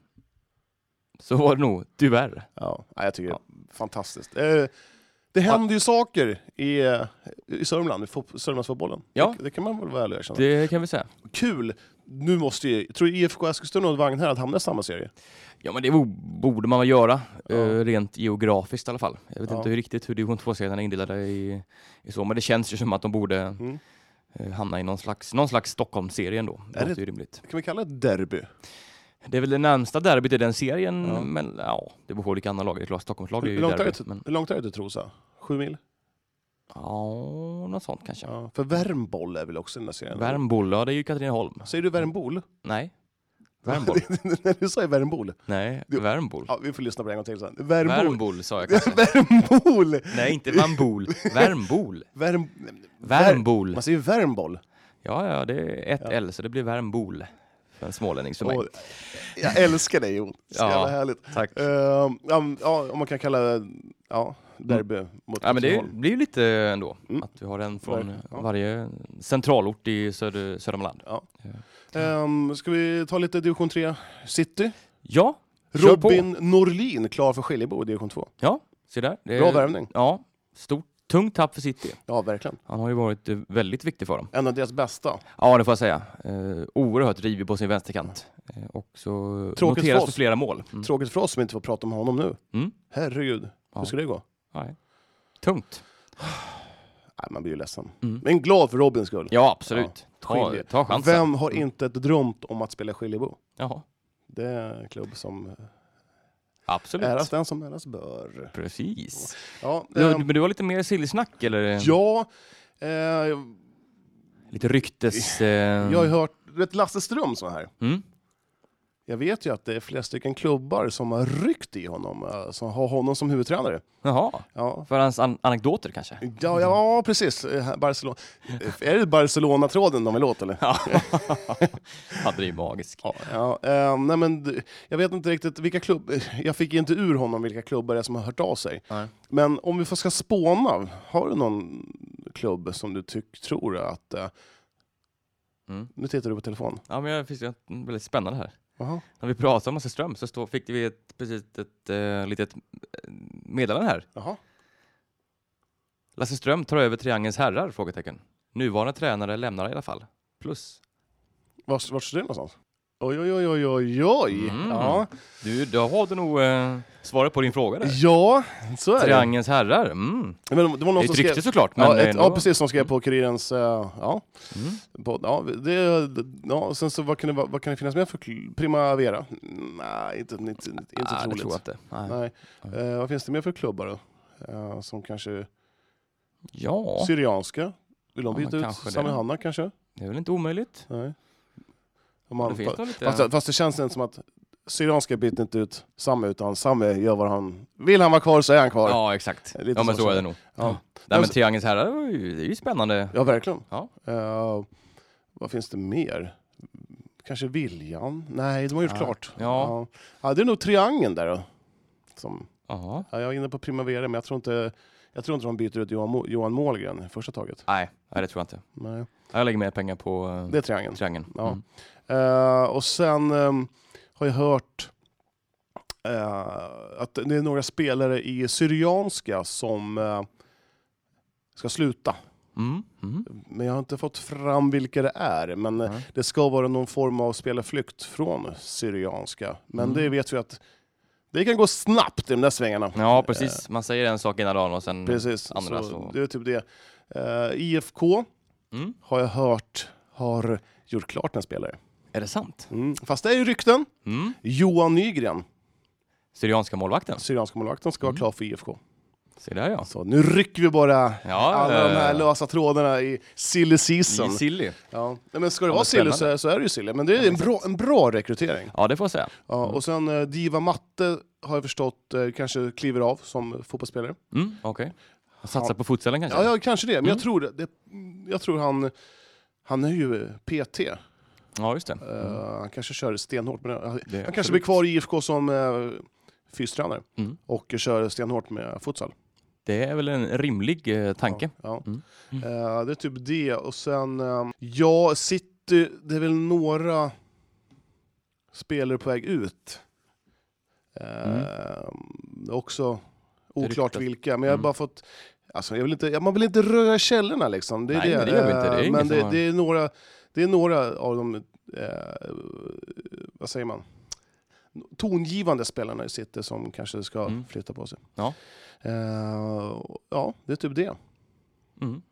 Speaker 2: Så var det nog, tyvärr.
Speaker 3: Ja, nej, jag tycker
Speaker 2: Ja.
Speaker 3: det är fantastiskt. Eh, det händer ju saker i, eh, i Sörmland, i fot- Sörmlandsfotbollen.
Speaker 2: Ja.
Speaker 3: Det, det kan man väl vara ärlig och erkänna.
Speaker 2: Det kan vi säga.
Speaker 3: Kul! nu måste ju, tror du IFK Eskilstuna och Vagnhärad hamnar i samma serie?
Speaker 2: Ja men det bo- borde man väl göra,
Speaker 3: Ja.
Speaker 2: eh, rent geografiskt i alla fall. Jag vet
Speaker 3: Ja.
Speaker 2: inte hur riktigt hur division 2-serien är indelade i, i så, men det känns ju som att de borde
Speaker 3: Mm.
Speaker 2: eh, hamna i någon slags, någon slags Stockholmsserie ändå. Det
Speaker 3: Är
Speaker 2: låter
Speaker 3: det-
Speaker 2: ju rimligt.
Speaker 3: Kan vi kalla det ett derby?
Speaker 2: Det är väl det närmsta derbyt i den serien,
Speaker 3: Ja.
Speaker 2: men ja, det beror på vilka andra lag det är klart. Stockholmslag är
Speaker 3: Hur
Speaker 2: ju
Speaker 3: långt, är det,
Speaker 2: derby.
Speaker 3: till-
Speaker 2: Men,
Speaker 3: hur långt är det till Trosa? Sju mil?
Speaker 2: ja, något sånt kanske.
Speaker 3: Ja. För Värmboll är väl också i den där serien?
Speaker 2: Värmboll, ja det är ju Katrineholm.
Speaker 3: Säger du Värmbol?
Speaker 2: Nej. Värmboll?
Speaker 3: När du sa Värmbol.
Speaker 2: Nej,
Speaker 3: Du-
Speaker 2: Värmboll.
Speaker 3: Ja, vi får lyssna på det en gång till sen. Värmbol.
Speaker 2: Värmboll sa jag kanske.
Speaker 3: Värmbol!
Speaker 2: Nej, inte Vambol. Värmboll.
Speaker 3: Värm...
Speaker 2: Värmboll.
Speaker 3: Man säger Värmboll.
Speaker 2: Ja, ja, det är ett L, så det blir Värmboll. För en smålänning som mig.
Speaker 3: Och- Jag älskar dig Jon. Så
Speaker 2: Ja.
Speaker 3: jävla härligt.
Speaker 2: Tack.
Speaker 3: Ehm, ja, men, ja, om man kan kalla ja, derby mot
Speaker 2: Mm. Ja, men det
Speaker 3: Katrineholm.
Speaker 2: blir ju lite ändå,
Speaker 3: Mm.
Speaker 2: att vi har en från
Speaker 3: Verkligen, ja.
Speaker 2: varje centralort i söder, Södermanland.
Speaker 3: Ehm, ska vi ta lite division 3? City?
Speaker 2: Ja, Kör på.
Speaker 3: Robin Norlin klar för Skiljebo i division 2.
Speaker 2: ja, se där. Det är-
Speaker 3: Bra värvning.
Speaker 2: Ja, stort, tungt tapp för City.
Speaker 3: Ja, verkligen.
Speaker 2: Han har ju varit eh, väldigt viktig för dem.
Speaker 3: En av deras bästa.
Speaker 2: Ja, det får jag säga. Eh, oerhört rivig på sin vänsterkant. Eh, och så
Speaker 3: Tråkigt för
Speaker 2: noteras
Speaker 3: oss.
Speaker 2: för flera mål. Mm.
Speaker 3: Tråkigt för oss som inte får prata om honom nu.
Speaker 2: Mm.
Speaker 3: Herregud, hur
Speaker 2: Ja.
Speaker 3: ska det gå?
Speaker 2: Nej. Tungt.
Speaker 3: Nej, man blir ju ledsen.
Speaker 2: Mm.
Speaker 3: Men glad för Robins skull.
Speaker 2: Ja, absolut. Ta,
Speaker 3: Skilje.
Speaker 2: ta chansen. Mm.
Speaker 3: Vem har inte drömt om att spela Skiljebo?
Speaker 2: Jaha.
Speaker 3: Det är en klubb som
Speaker 2: Absolut.
Speaker 3: äras den som äras bör.
Speaker 2: Precis.
Speaker 3: Ja,
Speaker 2: Du,
Speaker 3: ehm,
Speaker 2: men du har lite mer sillsnack eller?
Speaker 3: ja eh,
Speaker 2: Lite ryktes... Eh...
Speaker 3: jag har ju hört, du vet Lasse Ström så här.
Speaker 2: Mm.
Speaker 3: Jag vet ju att det är flera stycken klubbar som har ryckt i honom, eh, som har honom som huvudtränare.
Speaker 2: Jaha.
Speaker 3: Ja,
Speaker 2: För hans an- anekdoter kanske?
Speaker 3: ja, ja precis. Eh, Barcelona. Eh, Är det Barcelona-tråden de vill åt eller?
Speaker 2: Ja. Hade det är ju magiskt. Ja.
Speaker 3: Ja, eh, nej men d- jag vet inte riktigt vilka klubb... eh, Jag fick inte ur honom vilka klubbar det är som har hört av sig.
Speaker 2: Nej.
Speaker 3: Men om vi får ska spåna, har du någon klubb som du tyck, tror att... eh,
Speaker 2: Mm.
Speaker 3: Nu tittar du på telefon.
Speaker 2: men jag finns ju något väldigt spännande här.
Speaker 3: Jaha.
Speaker 2: När vi pratade om Lasse Ström så stå, fick vi ett, precis ett eh, litet eh, meddelande här.
Speaker 3: Jaha.
Speaker 2: Lasse Ström tar över Triangelns herrar? Frågetecken. Nuvarande tränare lämnar i alla fall. Plus.
Speaker 3: Vart, vart står det någonstans? Oj, oj, oj, oj, oj, oj.
Speaker 2: Mm.
Speaker 3: Ja.
Speaker 2: Du, då har du nog eh, svaret på din fråga där.
Speaker 3: ja, så är det.
Speaker 2: Triangelns herrar. Mm.
Speaker 3: Men det var
Speaker 2: Det
Speaker 3: någon
Speaker 2: är ett
Speaker 3: som
Speaker 2: rykte
Speaker 3: skrev...
Speaker 2: såklart. Men
Speaker 3: Ja, ett,
Speaker 2: ändå.
Speaker 3: ja, precis, som skrev på Kurirens... eh, ja,
Speaker 2: Mm.
Speaker 3: på, ja, det, ja, sen så vad kan det, vara- vad kan det finnas mer för kl- Primavera? Nej, inte, inte, inte, inte
Speaker 2: Ah, det
Speaker 3: troligt.
Speaker 2: tror jag inte. Nej.
Speaker 3: Nej. Eh, vad finns det mer för klubbar då? Eh, som kanske
Speaker 2: Ja,
Speaker 3: Syrianska? Vill de
Speaker 2: Ja, men
Speaker 3: byta ut
Speaker 2: kanske det.
Speaker 3: Sami Hanna kanske?
Speaker 2: det är väl inte omöjligt.
Speaker 3: Nej. Om
Speaker 2: det
Speaker 3: man,
Speaker 2: finns
Speaker 3: fa-
Speaker 2: nog lite...
Speaker 3: fast, fast det känns inte som att Syrianska byter inte ut Sami utan Sami gör vad han... Vill han vara kvar så är han kvar. Ja,
Speaker 2: Ja, exakt.
Speaker 3: Lite
Speaker 2: ja, men
Speaker 3: så
Speaker 2: så är
Speaker 3: så.
Speaker 2: det nog. Ja.
Speaker 3: Ja. Men
Speaker 2: Nej, men
Speaker 3: så-
Speaker 2: Triangelns herrar är ju, det är ju spännande.
Speaker 3: verkligen.
Speaker 2: Ja.
Speaker 3: Eh, vad finns det mer? Kanske Viljan? Nej, de har gjort
Speaker 2: Ja.
Speaker 3: klart.
Speaker 2: Ja.
Speaker 3: Ja. Ja, det är nog Triangeln där då. Som,
Speaker 2: Jaha.
Speaker 3: ja, jag är inne på Primavera, men jag tror inte, jag tror inte de byter ut Johan, Mo- Johan Målgren i första taget.
Speaker 2: Nej, nej, det tror jag inte.
Speaker 3: Nej,
Speaker 2: Jag lägger mer pengar på eh,
Speaker 3: det är Triangeln.
Speaker 2: Triangeln.
Speaker 3: Ja.
Speaker 2: Mm.
Speaker 3: Eh, och sen ehm, har jag hört eh, att det är några spelare i Syrianska som eh, ska sluta.
Speaker 2: Mm. Mm.
Speaker 3: Men jag har inte fått fram vilka det är. Men eh,
Speaker 2: Nej.
Speaker 3: det ska vara någon form av spelarflykt från Syrianska. Men
Speaker 2: Mm.
Speaker 3: det vet vi att det kan gå snabbt i de där svängarna.
Speaker 2: Ja, precis. Man säger en sak ena dagen och sen...
Speaker 3: Precis,
Speaker 2: Andra
Speaker 3: så
Speaker 2: så-
Speaker 3: det är typ det. Eh, IFK
Speaker 2: alltså- Mm.
Speaker 3: har jag hört har gjort klart en spelare.
Speaker 2: Är det sant?
Speaker 3: Mm. Fast det är ju rykten.
Speaker 2: Mm.
Speaker 3: Johan Nygren
Speaker 2: Syrianska målvakten.
Speaker 3: Syrianska målvakten ska vara
Speaker 2: Mm.
Speaker 3: klar för IFK.
Speaker 2: Se där ja.
Speaker 3: Så nu rycker vi bara
Speaker 2: Ja,
Speaker 3: alla de här
Speaker 2: eh,
Speaker 3: lösa trådarna i silly season.
Speaker 2: i Silly.
Speaker 3: Ja. Nej, men ska det
Speaker 2: Ja,
Speaker 3: vara
Speaker 2: men
Speaker 3: silly så,
Speaker 2: spännande.
Speaker 3: så är det ju silly, men det är en bra, en bra rekrytering.
Speaker 2: Ja, det får jag säga.
Speaker 3: Ja, och sen eh, Diva Matte har jag förstått eh, kanske kliver av som fotbollsspelare.
Speaker 2: Mm. Okej. Satsa på futsalen kanske?
Speaker 3: Ja, ja kanske det, men jag
Speaker 2: Mm.
Speaker 3: tror, det- det, jag tror han, han är ju PT. Eh,
Speaker 2: Ja, just det. Mm.
Speaker 3: Han kanske kör stenhårt, men han, han kanske
Speaker 2: absolut.
Speaker 3: blir kvar i IFK som eh, fystränare
Speaker 2: Mm.
Speaker 3: och kör stenhårt med futsal.
Speaker 2: Det är väl en rimlig eh, tanke.
Speaker 3: Ja.
Speaker 2: Mm.
Speaker 3: Eh, det är typ det. Och sen, eh, ja, City, det är väl några spelare på väg ut. Eh, det är Också oklart
Speaker 2: Mm. ryktas.
Speaker 3: vilka, men jag har
Speaker 2: Mm.
Speaker 3: bara fått... Alltså, jag vill inte, ja, man vill inte röra källorna liksom. Det är
Speaker 2: Nej,
Speaker 3: det.
Speaker 2: men det gör vi inte. Det är
Speaker 3: Eh,
Speaker 2: ingen
Speaker 3: men
Speaker 2: som
Speaker 3: det,
Speaker 2: har-
Speaker 3: det, är några, det är några av de eh, vad säger man, tongivande spelarna i City som kanske ska
Speaker 2: Mm.
Speaker 3: flytta på sig.
Speaker 2: Ja.
Speaker 3: Eh, ja, det är typ det.
Speaker 2: Mm.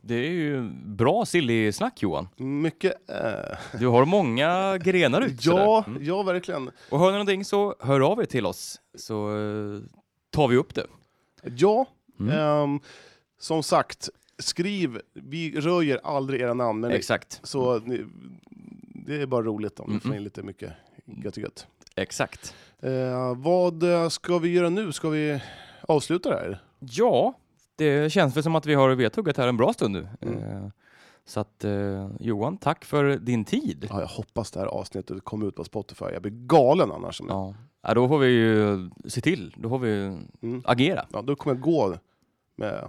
Speaker 2: Det är ju bra silly-snack Johan.
Speaker 3: Mycket... Eh,
Speaker 2: Du har många grenar ut. sådär.
Speaker 3: ja,
Speaker 2: Mm.
Speaker 3: ja, verkligen.
Speaker 2: Och hör ni någonting så hör av er till oss så eh, tar vi upp det.
Speaker 3: Ja,
Speaker 2: Mm.
Speaker 3: ehm, som sagt, skriv. Vi röjer aldrig era namn. Men liksom,
Speaker 2: Exakt.
Speaker 3: Så ni, det är bara roligt om ni får
Speaker 2: Mm-mm.
Speaker 3: in lite mycket gött, gött.
Speaker 2: Exakt.
Speaker 3: Eh, Vad eh, ska vi göra nu? Ska vi avsluta det här?
Speaker 2: Ja, det känns väl som att vi har vetuggat här en bra stund nu.
Speaker 3: Mm.
Speaker 2: Eh, Så att eh, Johan, tack för din tid.
Speaker 3: Ja, jag hoppas det här avsnittet kommer ut på Spotify. Jag blir galen annars. Ja.
Speaker 2: Ja. Ja, då får vi ju se till, då får vi ju
Speaker 3: Mm.
Speaker 2: agera
Speaker 3: Ja, då kommer jag gå med,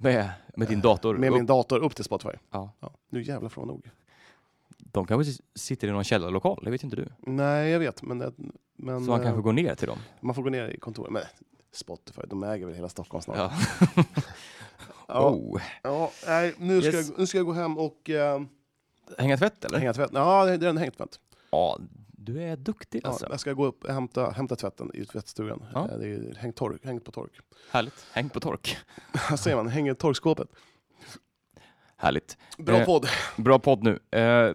Speaker 2: med, med din dator.
Speaker 3: med min
Speaker 2: Upp.
Speaker 3: dator upp till Spotify.
Speaker 2: Ja.
Speaker 3: nu jävlar får jag nog.
Speaker 2: De kanske s- sitter i någon källarlokal, det vet inte du.
Speaker 3: Nej, jag vet. Men, det, men
Speaker 2: Så man
Speaker 3: eh,
Speaker 2: kanske går ner till dem.
Speaker 3: man får gå ner i kontoret. Men Spotify, de äger väl hela Stockholm snart.
Speaker 2: Ja.
Speaker 3: Ja,
Speaker 2: Oh.
Speaker 3: ja, nej, nu, ska
Speaker 2: Yes.
Speaker 3: jag, nu ska jag gå hem och eh,
Speaker 2: Hänga tvätt eller?
Speaker 3: hänga tvätt. Ja, det det är en hängtvätt.
Speaker 2: Ja, du är duktig alltså.
Speaker 3: Ja, jag ska gå upp och hämta, hämta tvätten i tvättstugan.
Speaker 2: Ja.
Speaker 3: Eh, Det är hängt, tork, hängt på tork.
Speaker 2: Härligt. Häng på tork.
Speaker 3: Vad säger man? Hänger torkskåpet.
Speaker 2: Härligt.
Speaker 3: Bra
Speaker 2: Eh,
Speaker 3: podd.
Speaker 2: Bra podd nu. Eh,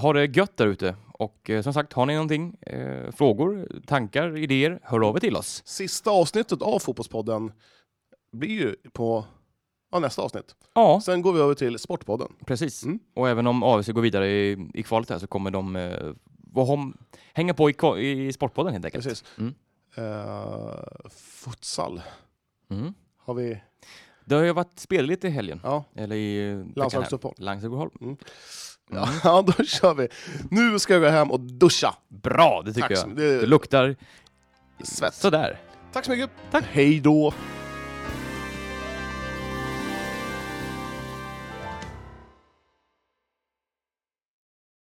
Speaker 2: ha det gött där ute. Och eh, som sagt, har ni någonting, eh, frågor, tankar, idéer, hör av er till oss.
Speaker 3: Sista avsnittet av Fotbollspodden blir ju på ja, nästa avsnitt.
Speaker 2: Ja,
Speaker 3: Sen går vi över till Sportpodden.
Speaker 2: precis.
Speaker 3: Mm.
Speaker 2: Och även om AFC går vidare i, i kvalet här så kommer de eh, vara hom- hänga på i, kva- i Sportpodden helt enkelt.
Speaker 3: Precis.
Speaker 2: Mm.
Speaker 3: Eh, futsal.
Speaker 2: Mm.
Speaker 3: Har vi...
Speaker 2: Det har ju varit spelligt i helgen.
Speaker 3: Ja,
Speaker 2: Eller i eh, veckan här.
Speaker 3: landslagsuppehåll.
Speaker 2: Landslagsuppehåll.
Speaker 3: Ja, då kör vi. Nu ska jag gå hem och duscha.
Speaker 2: Bra, det tycker
Speaker 3: Tack så
Speaker 2: jag.
Speaker 3: mycket.
Speaker 2: Det luktar
Speaker 3: Svett.
Speaker 2: sådär.
Speaker 3: Tack så mycket.
Speaker 2: Tack.
Speaker 3: Hej då.